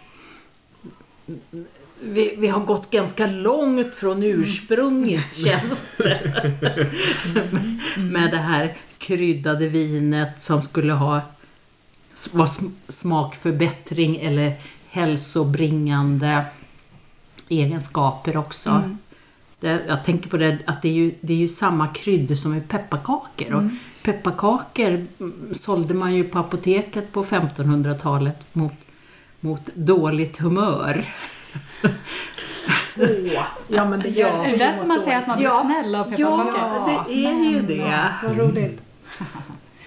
S4: Vi, vi har gått ganska långt från ursprunget känns det. Med det här kryddade vinet som skulle ha var sm- smakförbättring eller hälsobringande egenskaper också. Det, jag tänker på det att det är ju, det är ju samma kryddor som i pepparkakor. Och pepparkakor mm, sålde man ju på apoteket på 1500-talet mot, mot dåligt humör.
S5: Åh, ja, men det gör
S4: Ja.
S2: Är det därför man säger att man blir
S4: Ja.
S2: snäll av pepparkakor?
S4: Ja, det är ju det.
S2: Vad roligt.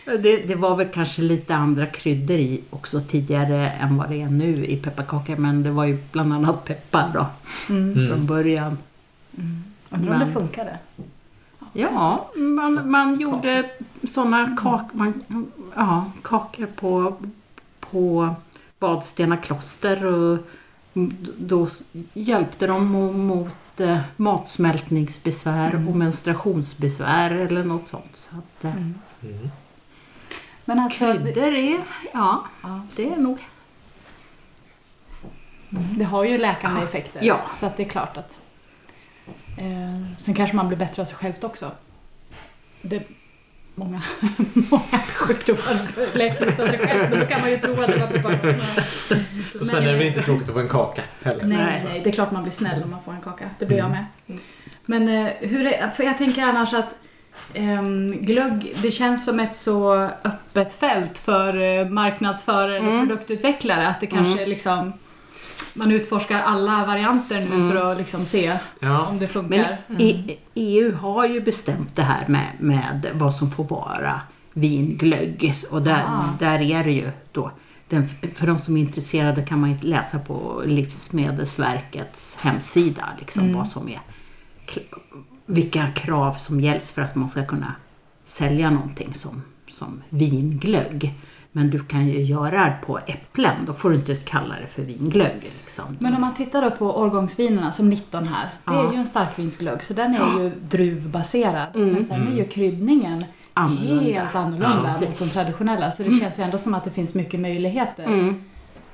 S4: det. Det var väl kanske lite andra kryddor i också tidigare än vad det är nu i pepparkakor. Men det var ju bland annat peppar då från början.
S2: Undrar om det
S4: Men-
S2: funkade.
S4: Ja, man, man gjorde sådana kak, man, ja, kakor på, på Vadstena kloster och då s- hjälpte de mo- mot eh, matsmältningsbesvär och menstruationsbesvär eller något sånt. Så att, eh,
S2: Men alltså, det,
S4: kryddor är, ja,
S2: Ja.
S4: det är nog
S2: Mm. det har ju läkande effekter.
S4: Ja.
S2: Så att det är klart att... Eh, sen kanske man blir bättre av sig självt också. Det, många, många sjukdomar läker ut av sig själv, men då kan man ju tro att det var pepparkakorna.
S1: Och sen är det väl inte tråkigt att få en kaka heller.
S2: Nej,
S4: Nej. Mm.
S2: nej, det är klart man blir snäll om man får en kaka. Det blir jag med. Men eh, hur är, för jag tänker annars att ehm, glögg, det känns som ett så öppet fält för eh, marknadsförare
S4: Mm.
S2: och produktutvecklare att det kanske är liksom man utforskar alla varianter nu för att liksom se
S1: Ja.
S2: om det funkar.
S4: Mm.
S2: Mm.
S4: Men i, EU har ju bestämt det här med, med vad som får vara vinglögg. Och där,
S2: Ah.
S4: där är det ju då, den, för de som är intresserade kan man ju läsa på Livsmedelsverkets hemsida liksom,
S2: Mm.
S4: vad som är, k- vilka krav som gälls för att man ska kunna sälja någonting som, som vinglögg. Men du kan ju göra det på äpplen, då får du inte kalla det för vinglögg. Liksom.
S2: Men om man tittar då på årgångsvinerna, som 19 här, det är
S4: Ja. Mm.
S2: ju en starkvinsglögg så den är ju druvbaserad. Men sen
S1: Mm.
S2: är ju kryddningen
S4: Annorlunda. Mm.
S2: helt annorlunda
S4: Ja.
S2: mot de traditionella så det känns ju ändå som att det finns mycket möjligheter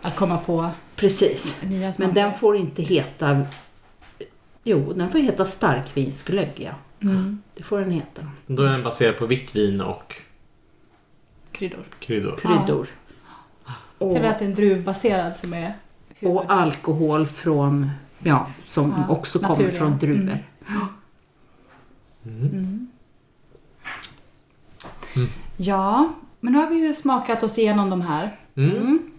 S2: att komma på
S4: Precis.
S2: nya smaker.
S4: Mm. Men den får inte heta... Jo, den får heta starkvinsglögg, ja. Det får den heta.
S1: Då är den baserad på vitt vin och
S2: kryddor.
S1: kryddor.
S4: Kryddor.
S2: Så det är
S4: Och,
S2: att det är en druvbaserad som är
S4: och alkohol från... Ja, som
S2: Ja,
S4: också kommer
S2: naturliga.
S4: från druvor.
S2: Mm. Ja, men nu har vi ju smakat oss igenom de här.
S1: Mm.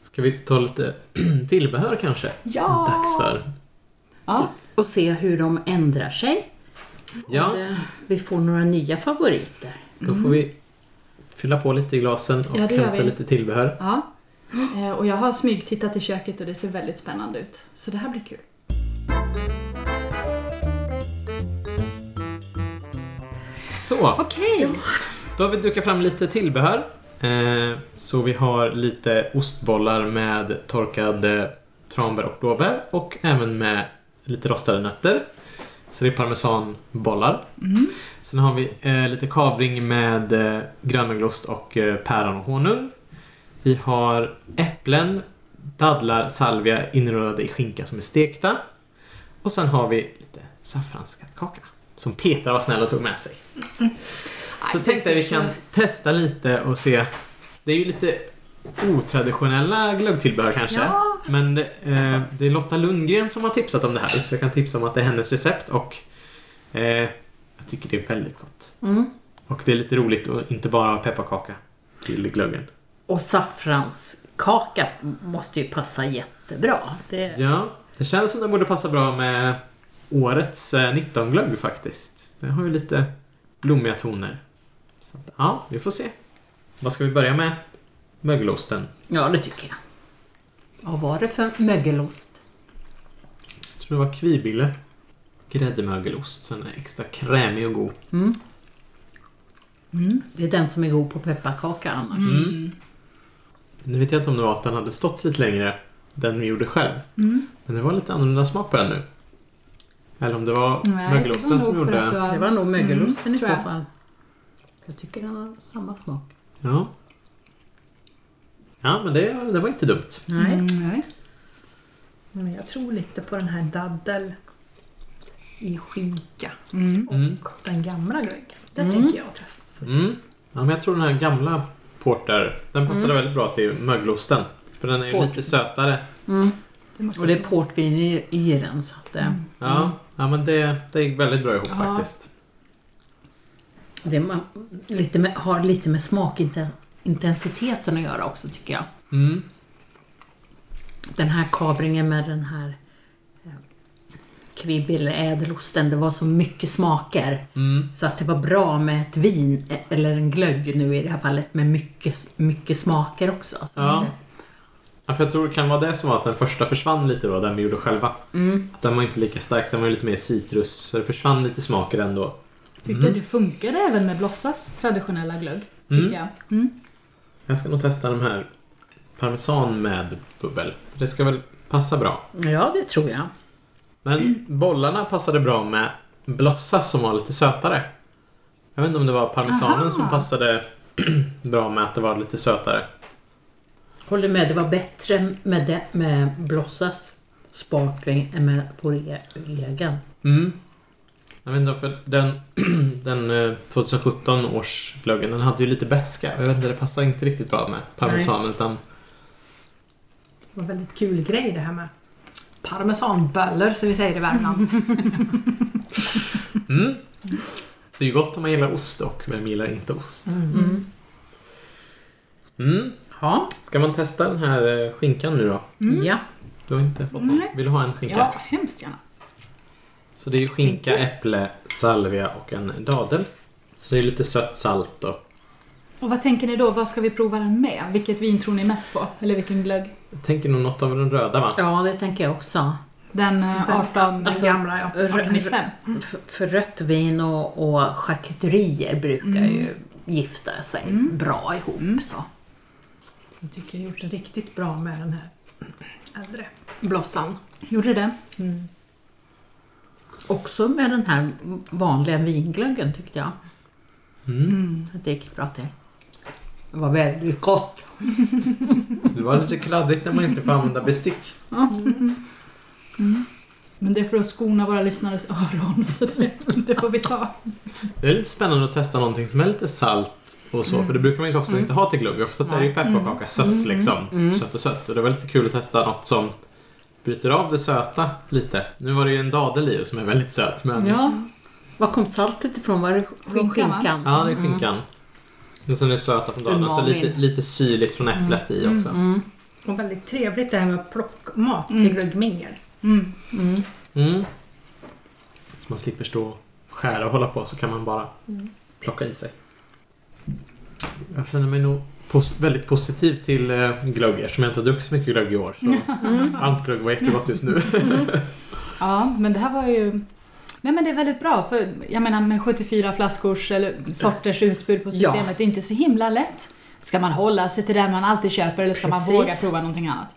S1: Ska vi ta lite tillbehör kanske?
S2: Ja!
S1: Dags för.
S2: Ja,
S4: Och se hur de ändrar sig.
S1: Ja.
S4: Och det- Vi får några nya favoriter.
S1: Då får vi fylla på lite i glasen och
S2: Ja, det gör
S1: hämta
S2: vi.
S1: lite tillbehör.
S2: ja. Eh, Och jag har smygtittat i köket och det ser väldigt spännande ut. Så det här blir kul.
S1: Så,
S2: Okej!
S1: då har vi dukat fram lite tillbehör. Eh, Så vi har lite ostbollar med torkade tranbär och blåbär och även med lite rostade nötter. Så det är parmesanbollar. Sen har vi eh, lite kavring med eh, grönmögelost och eh, päron och honung. Vi har äpplen, dadlar, salvia inrullade i skinka som är stekta. Och sen har vi lite saffranskaka som Peter var snäll och tog med sig. Så
S2: Aj, det
S1: tänkte jag vi
S2: ser
S1: kan
S2: så-
S1: testa lite och se. Det är ju lite otraditionella glöggtillbehör kanske.
S2: Ja.
S1: Men det, eh, det är Lotta Lundgren som har tipsat om det här. Så jag kan tipsa om att det är hennes recept och eh, jag tycker det är väldigt gott.
S4: Mm.
S1: Och det är lite roligt att inte bara ha pepparkaka till glöggen.
S4: Och saffranskaka måste ju passa jättebra. Det,
S1: Ja, det känns som den borde passa bra med årets eh, 19-glögg faktiskt. Den har ju lite blommiga toner. Så att, ja, vi får se. Vad ska vi börja med? Mögelosten.
S4: ja, det tycker jag. Vad var det för mögelost?
S1: Jag tror det var kvibille. Gräddmögelost. Så den är extra krämig och god.
S4: Det är den som är god på pepparkaka annars.
S1: Mm.
S2: Mm.
S1: Nu vet jag inte om det var att den hade stått lite längre, den vi gjorde själv.
S2: Mm.
S1: Men det var lite annorlunda smak på den nu. Eller om det var
S2: Nej, det var
S1: mögelosten
S2: nog
S1: som
S2: för
S1: gjorde...
S2: att du har-
S4: Det var nog mögelosten
S2: Mm,
S4: i så
S2: tror jag.
S4: fall. Jag tycker den har samma smak.
S1: Ja. Ja, men det, det var inte dumt.
S4: Nej.
S2: Mm, nej.
S5: Men jag tror lite på den här daddel i skinka.
S2: Mm.
S1: Mm.
S5: Och den gamla glöggen. Det tänker jag testa.
S1: Mm. Ja, men jag tror den här gamla porter, den passade
S2: Mm.
S1: väldigt bra till mögelosten. För den är ju
S4: Porter.
S1: lite sötare.
S4: Mm. Och det är portvin i, i den så att eh, det,
S1: Ja, ja men det, det gick väldigt bra ihop
S2: Mm. Ja.
S1: faktiskt.
S4: det ma- lite med, har lite med smakintensiteten att göra också tycker jag.
S1: Mm.
S4: Den här kavringen med den här eh, kvibbelädelosten, det var så mycket smaker.
S1: Mm.
S4: Så att det var bra med ett vin, eh, eller en glögg nu i det här fallet, med mycket, mycket smaker också. Så
S1: Ja.
S4: det-
S1: Ja, för jag tror det kan vara det som var att den första försvann lite då, den vi gjorde själva.
S4: Mm.
S1: Den var inte lika stark, den var ju lite mer citrus. Så det försvann lite smaker ändå.
S2: Tyckte det funkade även med Blossas traditionella glögg. Tycker
S1: Mm.
S2: jag.
S1: Jag ska nog testa de här parmesan med bubbel. Det ska väl passa bra.
S4: ja, det tror jag.
S1: Men bollarna passade bra med blossa som var lite sötare. Jag vet inte om det var parmesanen
S2: Aha.
S1: som passade bra med att det var lite sötare.
S4: Håller med, det var bättre med, det, med Blossas sparkling än med vår e-, egen.
S1: Mm. Jag vet inte, för den, den eh, 2017 års glöggen, den hade ju lite beska. Jag vet inte, det passade inte riktigt bra med parmesan utan...
S5: Det var en väldigt kul grej det här med parmesanböller som vi säger i Värmland.
S1: Mm. Det är ju gott om man gillar ost dock. Vem gillar inte ost?
S2: Mm.
S1: Mm.
S4: Ja.
S1: Ska man testa den här eh, skinkan nu då?
S2: Mm.
S4: ja.
S1: Du har inte fått
S2: Nej.
S1: någon. Vill du ha en skinka?
S2: Ja, hemskt gärna.
S1: Så det är ju skinka, äpple, salvia och en dadel. Så det är lite sött salt och
S2: Och vad tänker ni då? Vad ska vi prova den med? Vilket vin tror ni mest på? Eller vilken glögg?
S1: jag tänker nog något av den röda va?
S4: Ja, det tänker jag också.
S2: Den eh, 18...
S5: Den
S2: Alltså,
S5: gamla, ja.
S2: 1895.
S4: För, för rött vin och, och charkuterier brukar
S2: Mm.
S4: ju gifta sig bra ihop. Så.
S5: Jag tycker jag gjort det riktigt bra med den här äldre blossan.
S2: Gjorde det?
S4: Också med den här vanliga vinglöggen tyckte jag.
S1: Mm.
S4: Att det gick bra till. Det var väldigt gott.
S1: Det var lite kladdigt när man inte får använda bestick.
S2: Men det är för att skona våra lyssnares öron, så det, det får vi ta.
S1: Det är lite spännande att testa någonting som är lite salt och så, för det brukar man ju ofta inte ha till glögg. Oftast är det ju pepparkaka, sött liksom. Sött och sött. Och det var lite kul att testa något som bryter av det söta lite. Nu var det ju en dadel i som är väldigt söt, men ja,
S4: Ja. Var kom saltet ifrån? Var det från
S2: Skinkan, va?
S4: skinkan? Mm.
S1: det är skinkan. Och sen är det söta från dadeln, så
S4: Umami.
S1: lite, lite syrligt från äpplet i också.
S4: Mm.
S5: Och väldigt trevligt det här med plockmat
S2: Mm.
S5: till glöggmingel.
S2: Mm.
S4: Mm.
S1: Mm. Så man slipper stå och skära och hålla på så kan man bara plocka i sig. Jag känner mig nog pos- väldigt positiv till eh, glögg eftersom jag inte har druckit så mycket glögg i år. Så allt glögg var jättegott just nu.
S2: Ja, men det här var ju... Nej men det är väldigt bra, för jag menar med 74 flaskors eller sorters utbud på systemet, det är inte så himla lätt. Ska man hålla sig till det man alltid köper eller ska
S4: Precis.
S2: man våga prova någonting annat?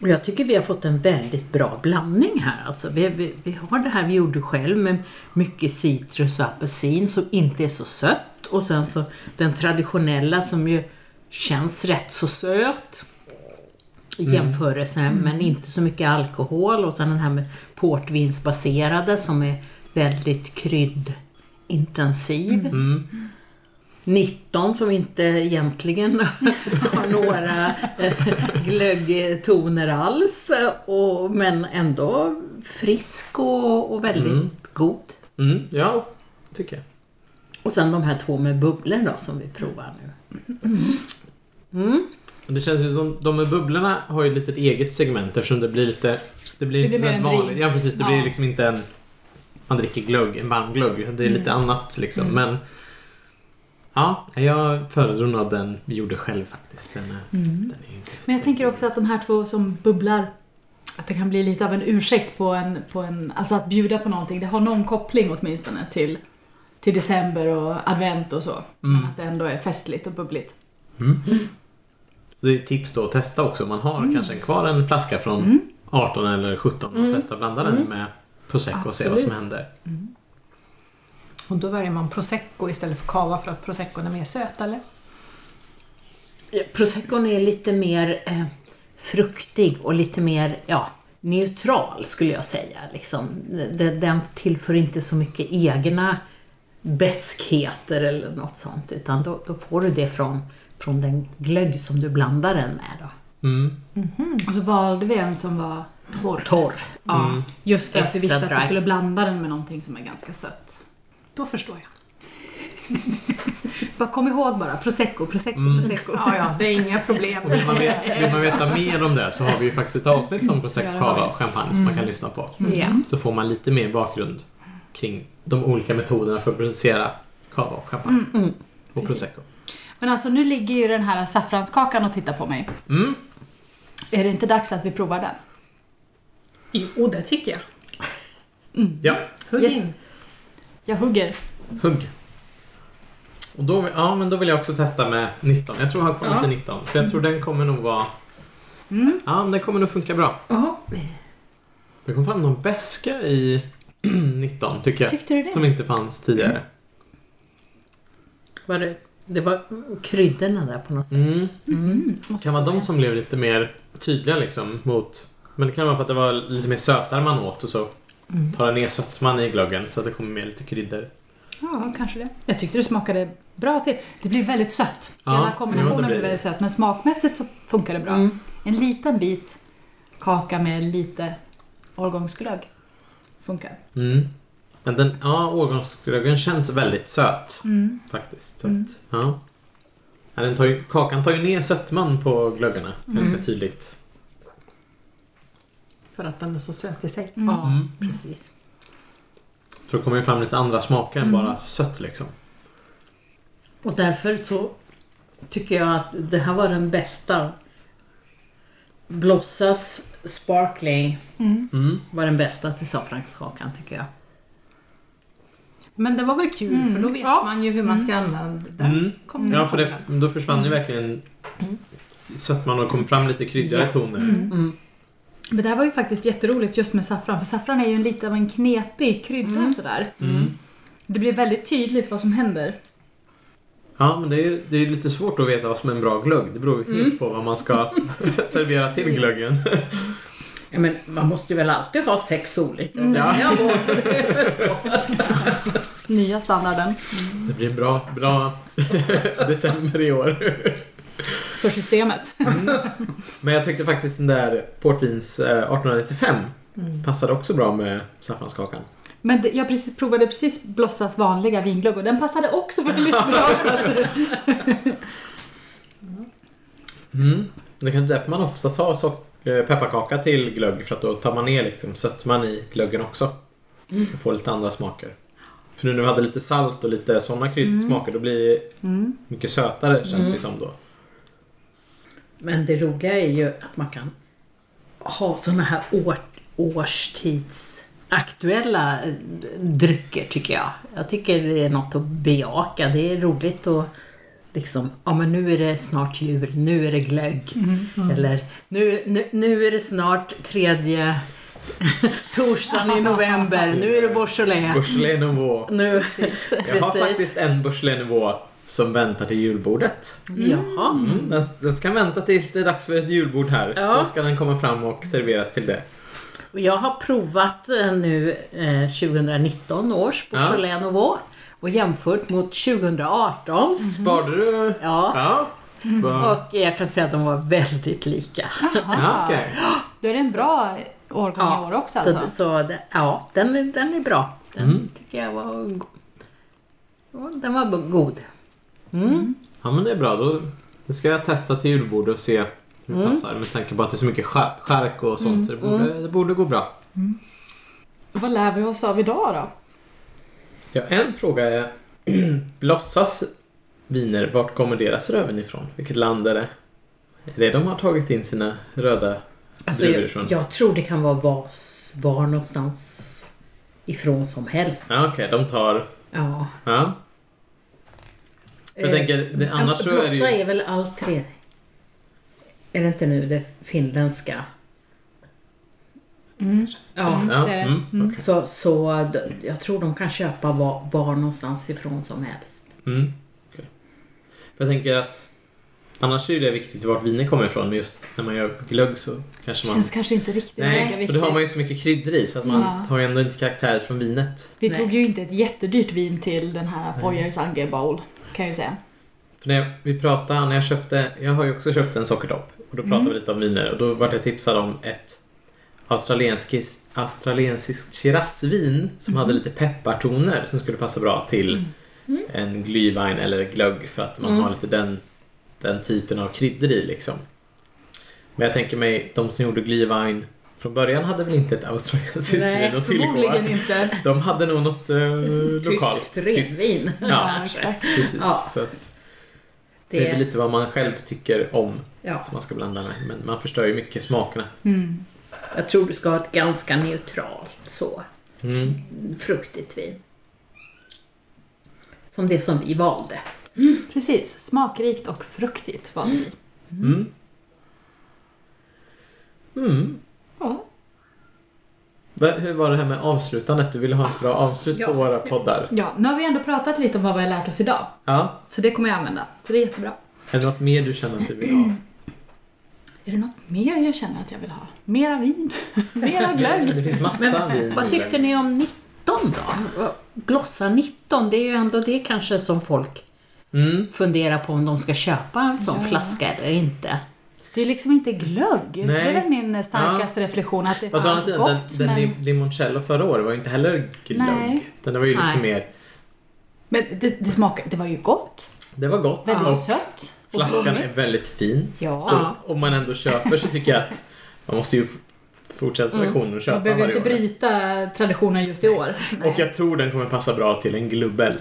S4: Och Jag tycker vi har fått en väldigt bra blandning här. Alltså vi, vi, vi har det här vi gjorde själv med mycket citrus och apelsin som inte är så sött. Och sen så den traditionella som ju känns rätt så söt
S1: Mm.
S4: i jämförelse, men inte så mycket alkohol. Och sen den här med portvinsbaserade som är väldigt kryddintensiv.
S1: Mm.
S4: 19 som inte egentligen har några eh, glöggtoner alls. Och, men ändå frisk och, och väldigt
S1: Mm.
S4: god.
S1: Mm, ja, tycker jag.
S4: Och sen de här två med bubblor då som vi provar nu. Mm.
S1: Men det känns ju som de med bubblorna har ju lite ett eget segment eftersom det blir lite... Det blir,
S2: Det
S1: inte
S2: blir mer
S1: så
S2: en
S1: vanligt.
S2: drink.
S1: Ja, precis. Det
S2: Ja.
S1: blir liksom inte en... Man dricker glögg, en varm glögg. utan Det är lite
S2: Mm.
S1: annat liksom. Men... Ja, jag föredrar nog den vi gjorde själv faktiskt. Den är, den är ju inte-
S2: Men jag tänker också att de här två som bubblar, att det kan bli lite av en ursäkt på en, på en alltså att bjuda på någonting. Det har någon koppling åtminstone till, till december och advent och så. Men att det ändå är festligt och bubbligt.
S1: Det är ett tips då att testa också. Om man har
S2: Mm.
S1: kanske kvar en flaska från 18 eller 17 och testa att blanda den med prosecco och se vad som
S2: Mm. Absolut.
S1: händer.
S5: Och då väljer man prosecco istället för cava för att prosecco är mer söt, eller?
S4: Ja, Proseccon är lite mer eh, fruktig och lite mer ja, neutral skulle jag säga. Liksom. Den, den tillför inte så mycket egna beskheter eller något sånt utan då, då får du det från, från den glögg som du blandar den med. Då.
S1: Mm.
S2: Och så valde vi en som var torr.
S4: Torr.
S2: Ja, just för att vi
S4: Extra
S2: visste att vi
S4: dry.
S2: skulle blanda den med någonting som är ganska sött.
S5: Då förstår jag.
S2: Bara kom ihåg bara, prosecco, prosecco,
S1: Mm.
S2: prosecco.
S5: Ja, ja, det är inga problem.
S1: Och vill, man veta, vill man veta mer om det så har vi ju faktiskt ett avsnitt om
S2: Mm. Ja,
S1: prosecco,
S2: det har vi. Mm.
S1: cava och champagne som man kan lyssna på.
S4: Ja.
S1: Så får man lite mer bakgrund kring de olika metoderna för att producera cava och champagne. Och prosecco.
S2: Men alltså nu ligger ju den här saffranskakan och tittar på mig.
S1: Mm.
S2: Är det inte dags att vi provar den?
S5: Jo, det tycker jag.
S1: Ja,
S5: Hugg
S2: Yes.
S5: in.
S2: Jag hugger.
S1: hugg. Och då, ja, men då vill jag också testa med 19. Jag tror han kommer till 19. För jag tror den kommer nog vara... Ja, men den kommer nog funka bra. Det kom fram någon beska i 19, tycker jag.
S2: Tyckte du det?
S1: Som inte fanns tidigare.
S4: Var det, det var kryddorna där på något sätt.
S1: Mm.
S2: Måste
S1: kan vara de
S2: med.
S1: som blev lite mer tydliga liksom mot... Men det kan vara för att det var lite mer sötare man åt och så tar den ner sötman i glöggen så att det kommer med lite kryddor.
S2: Ja, kanske det. Jag tyckte det smakade bra till. Det blir väldigt sött.
S1: Ja,
S2: Hela
S1: jo, det
S2: kombinationen
S1: blir
S2: blir
S1: det.
S2: väldigt sött, men smakmässigt så funkar det bra.
S4: Mm.
S2: En liten bit kaka med lite årgångsglögg funkar.
S1: Mm. Men den, ja, årgångsglöggen känns väldigt söt
S2: Mm.
S1: faktiskt. Så att, ja. Ja, den tar ju, kakan tar ju ner sötman på glöggarna ganska tydligt.
S5: För att den är så söt i sig.
S4: Ja,
S1: Mm.
S4: precis.
S1: Så det kommer ju fram lite andra smaker än bara sött liksom.
S4: Och därför så tycker jag att det här var den bästa. Blossas Sparkling
S1: Mm.
S4: var den bästa till saffranskakan tycker jag.
S5: Men det var väl kul för då vet
S2: Ja.
S5: man ju hur man ska använda den.
S1: Mm. Ja, för det, då försvann ju verkligen sötman och kom fram lite kryddigare toner.
S2: Mm. Men det här var ju faktiskt jätteroligt just med saffran, för saffran är ju en lite av en knepig krydda sådär.
S1: Mm.
S2: Det blir väldigt tydligt vad som händer.
S1: Ja, men det är ju det är ju lite svårt att veta vad som är en bra glögg. Det beror ju helt på vad man ska servera till glöggen.
S4: Ja, men man måste ju väl alltid ha sex olika.
S1: Ja.
S4: Ja, och-
S2: Nya standarden.
S1: Det blir en bra, bra december i år.
S2: För systemet.
S1: Men jag tyckte faktiskt den där portvins eh, 1895 passade också bra med saffranskakan.
S2: Men det, jag precis, provade precis Blossas vanliga vinglögg och den passade också väldigt bra. Så att,
S1: Mm. Det kanske är därför man oftast har sock- eh, pepparkaka till glögg för att då tar man ner liksom sötman i glöggen också. Och får lite andra smaker. För nu när vi hade lite salt och lite sådana kryddsmaker då blir det mycket sötare känns det som då.
S4: Men det roliga är ju att man kan ha såna här år, årstidsaktuella eh, drycker tycker jag. Jag tycker det är något att bejaka. Det är roligt att liksom, ja men nu är det snart jul, nu är det glögg. Eller nu, nu, nu är det snart tredje torsdagen i november, nu är det Beaujolais.
S1: Börselé nivå.
S4: Nu,
S1: Jag har
S4: Precis.
S1: faktiskt en börselé nivå som väntar till julbordet.
S4: jaha.
S1: Mm, den, den ska vänta tills det är dags för ett julbord här.
S4: Ja. Mm.
S1: Då ska den komma fram och serveras till det.
S4: Och Jag har provat eh, nu eh, 2019 års
S1: Ja.
S4: Beaujolais Nouveau och jämfört mot 2018s.
S2: Mm.
S1: Sparade du?
S4: Ja. Mm.
S1: Ja. Va-
S4: Och jag kan säga att de var väldigt lika.
S1: Ja, okej.
S2: Då är det en bra årgång i år också
S4: så,
S2: alltså.
S4: så det, ja, den, är- den är bra. Den
S1: Mm.
S4: tycker jag var go- Ja, Den var bo- god. Mm.
S1: Ja, men det är bra. Då då ska jag testa till julbordet och se hur
S4: Mm.
S1: det passar. Med tanke på att det är så mycket skär- skärk och sånt. Så det, borde, det borde gå bra.
S2: Vad lär vi oss av idag då?
S1: Ja, en fråga är. Blossas viner, vart kommer deras röven ifrån? Vilket land är det? Är det de har tagit in sina röda
S4: Alltså,
S1: druvor
S4: jag,
S1: ifrån?
S4: jag tror det kan vara var, var någonstans ifrån som helst.
S1: Ja, okej. de tar...
S4: Ja.
S1: Ja. Jag
S4: Eh,
S1: tänker, det, annars så är det ju...
S4: Blossa är väl all tre... Är det inte nu det finländska? Mm. Ja.
S1: Ja,
S2: Det är det.
S1: mm, okej.
S4: Så, så d- jag tror de kan köpa var, var någonstans ifrån som helst.
S1: Mm. okej. För jag tänker att annars är ju det viktigt vart viner kommer ifrån. Men just när man gör glögg så kanske man...
S2: Känns kanske inte riktigt lika
S1: Nej, för då
S2: viktigt.
S1: har man ju så mycket kryddor i så att man
S2: Ja.
S1: tar ju ändå inte karaktär från vinet.
S2: Vi
S4: Nej.
S2: tog ju inte ett jättedyrt vin till den här Foyers Angre Bowl, kan jag ju säga.
S1: För när jag, vi pratade, när jag köpte, jag har ju också köpt en sockertopp och då
S4: Mm.
S1: pratade vi lite om viner och då vart jag tipsad om ett australienskis- australiensiskt chirasvin som
S4: Mm.
S1: hade lite peppartoner som skulle passa bra till en glühwein eller glögg för att
S4: Mm.
S1: man har lite den, den typen av kryddor i liksom. Men jag tänker mig, de som gjorde glühwein från början hade väl inte ett australiensiskt
S4: Nej,
S1: vin att tillgå?
S2: Förmodligen inte.
S1: De hade nog något eh, lokalt.
S4: Tyskt rödvin.
S1: Ja,
S2: exakt.
S1: precis.
S4: Ja.
S1: Så att det... är väl lite vad man själv tycker om
S4: ja,
S1: som man ska blanda med. Men man förstör ju mycket smakerna.
S2: Mm.
S4: jag tror du ska ha ett ganska neutralt så
S1: Mm.
S4: fruktigt vin. Som det som vi valde.
S2: Precis, smakrikt och fruktigt valde vi.
S1: Mm. Mm.
S2: Ja.
S1: Va- Hur var det här med avslutandet? Du ville ha ett bra avslut
S4: Ja.
S1: på våra poddar.
S2: ja, nu har vi ändå pratat lite om vad vi har lärt oss idag,
S1: Ja.
S2: så det kommer jag använda. Så det är jättebra.
S1: Är det något mer du känner att du vill ha?
S2: Är det något mer jag känner att jag vill ha? Mera vin, mera glögg.
S1: Det finns massa vin.
S4: Vad tyckte ni om 19 då? Blossa 19, det är ju ändå det kanske som folk
S1: Mm.
S4: funderar på om de ska köpa en sån flaska eller inte.
S2: Det är liksom inte glögg. Det är
S1: Nej.
S2: väl min starkaste reflektion. Att det är
S1: Fast å andra sidan, den,
S2: gott,
S1: den
S2: men...
S1: lim- limoncello förra året var ju inte heller glögg.
S2: Nej.
S1: Utan det var ju liksom
S4: Nej.
S1: mer,
S2: Men det, det smakar, det var ju gott.
S1: det var gott.
S2: Väldigt
S1: och
S2: sött. och
S1: flaskan
S2: blommigt.
S1: är väldigt fin.
S2: Ja.
S1: Så om man ändå köper så tycker jag att man måste ju f- fortsätta
S2: Mm.
S1: traditionen och
S2: Man
S1: köpa
S2: behöver ju inte
S1: varje år.
S2: bryta traditionen just i år. Nej.
S1: Och jag tror den kommer passa bra till en glubbel.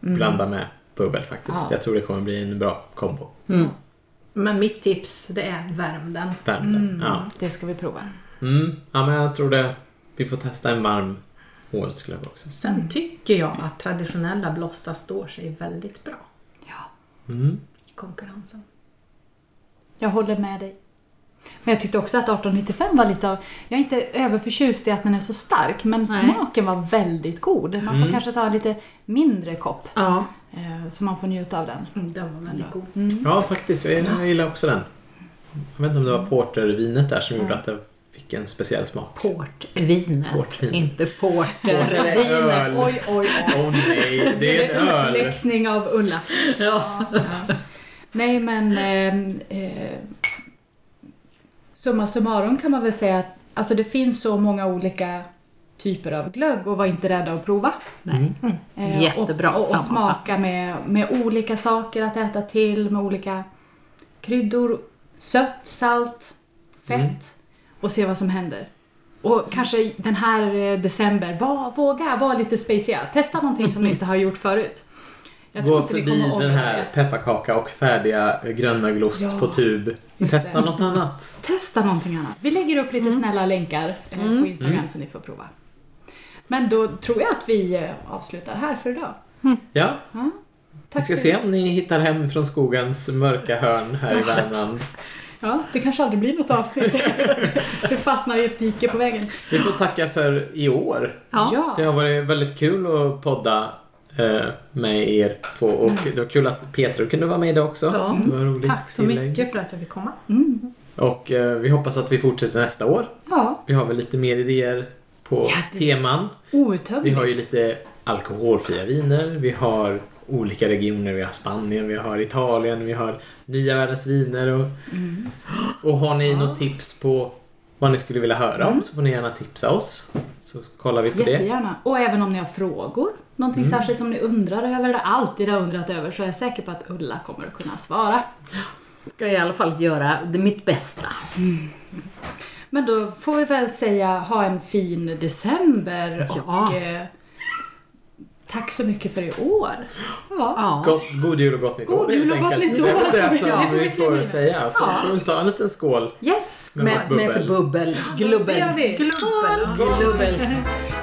S1: Blanda med bubbel faktiskt.
S2: Mm. Ja.
S1: Jag tror det kommer bli en bra kombo.
S5: Men mitt tips, det är värm den.
S1: Värm
S2: Mm.
S1: den. Ja.
S2: Det ska vi prova.
S1: Mm. ja, men jag tror det. Vi får testa en varm årets glögg också.
S5: Sen tycker jag att traditionella blossa står sig väldigt bra
S2: Ja.
S1: Mm.
S5: i konkurrensen.
S2: Jag håller med dig. Men jag tyckte också att 1895 var lite av... Jag är inte överförtjust i att den är så stark, men smaken var väldigt god. Man får
S1: Mm.
S2: kanske ta en lite mindre kopp,
S5: Ja,
S2: eh, så man får njuta av den.
S5: mm, den var väldigt god.
S2: Mm.
S1: Ja, faktiskt. Jag, jag gillar också den. Jag vet inte om
S2: Mm.
S1: det var portervinet där som gjorde att det fick en speciell smak.
S4: Portvinet,
S1: Portvin.
S4: inte porter.
S1: Porter är öl. Åh
S2: Oj, oj, oj.
S1: nej, det är en öl.
S2: Uppläxning av Ulla.
S4: Ja.
S2: Nej, men... Eh, eh, summa summarum kan man väl säga att alltså, det finns så många olika typer av glögg och var inte rädda att prova.
S1: Mm.
S2: Eh,
S4: Jättebra
S2: Och, och, och
S4: sammanfattning.
S2: smaka med, med olika saker att äta till, med olika kryddor, sött, salt, fett
S1: Mm.
S2: och se vad som händer. Och kanske den här eh, december, var, våga vara lite spacea. Testa någonting som ni inte har gjort förut. Jag tror
S1: Gå
S2: inte vi
S1: förbi
S2: kommer
S1: den
S2: ångra
S1: här
S2: det.
S1: pepparkaka och färdiga grönmögelost
S2: Ja,
S1: på tub.
S2: just
S1: Testa
S2: det.
S1: något annat.
S2: Testa någonting annat. Vi lägger upp lite snälla länkar eh, på Instagram
S1: Mm.
S2: så ni får prova. Men då tror jag att vi eh, avslutar här för idag.
S1: Ja,
S2: Ja.
S1: vi ska
S2: för-
S1: se om ni hittar hem från skogens mörka hörn här i Värmland.
S2: Ja, det kanske aldrig blir något avsnitt. det fastnar i ett dike på vägen.
S1: Vi får tacka för i år. Det har varit väldigt kul att podda eh, med er två och
S2: Mm.
S1: det var kul att Petra kunde vara med idag också.
S5: Ja.
S1: Det var roligt
S5: Tack så
S1: tillägg.
S5: mycket för att jag fick komma.
S1: Och eh, vi hoppas att vi fortsätter nästa år.
S2: ja.
S1: Vi har väl lite mer idéer på
S2: Ja, det-
S1: teman. Vi
S2: outtömligt.
S1: har ju lite alkoholfria viner. Vi har olika regioner. Vi har Spanien, vi har Italien, vi har nya världens viner. Och,
S2: Mm.
S1: och har ni något tips på vad ni skulle vilja höra om så får ni gärna tipsa oss. Så kollar vi på det.
S2: Mm.
S1: Mm.
S2: Jättegärna. Och även om ni har frågor, någonting särskilt som ni undrar över eller alltid har undrat över så är jag säker på att Ulla kommer att kunna svara.
S4: Ska jag i alla fall göra det mitt bästa.
S2: Men då får vi väl säga ha en fin december och
S4: Ja.
S2: eh, tack så mycket för i år. Ja.
S4: Ja.
S1: God, god jul och gott nytt
S2: God
S1: år,
S2: jul
S1: helt
S2: och gott
S1: enkelt.
S2: nytt
S1: Det
S2: år.
S1: är
S2: Det
S1: det
S2: får
S1: som
S2: vi
S1: vi
S2: kliva in
S1: får
S2: i.
S1: säga. Och Så
S2: Ja.
S1: får vi ta en liten skål
S2: Yes!
S1: med,
S4: Med,
S1: bubbel.
S4: med ett bubbel.
S2: Det
S4: Glubben.
S2: gör vi. Skål!
S4: Glubbel.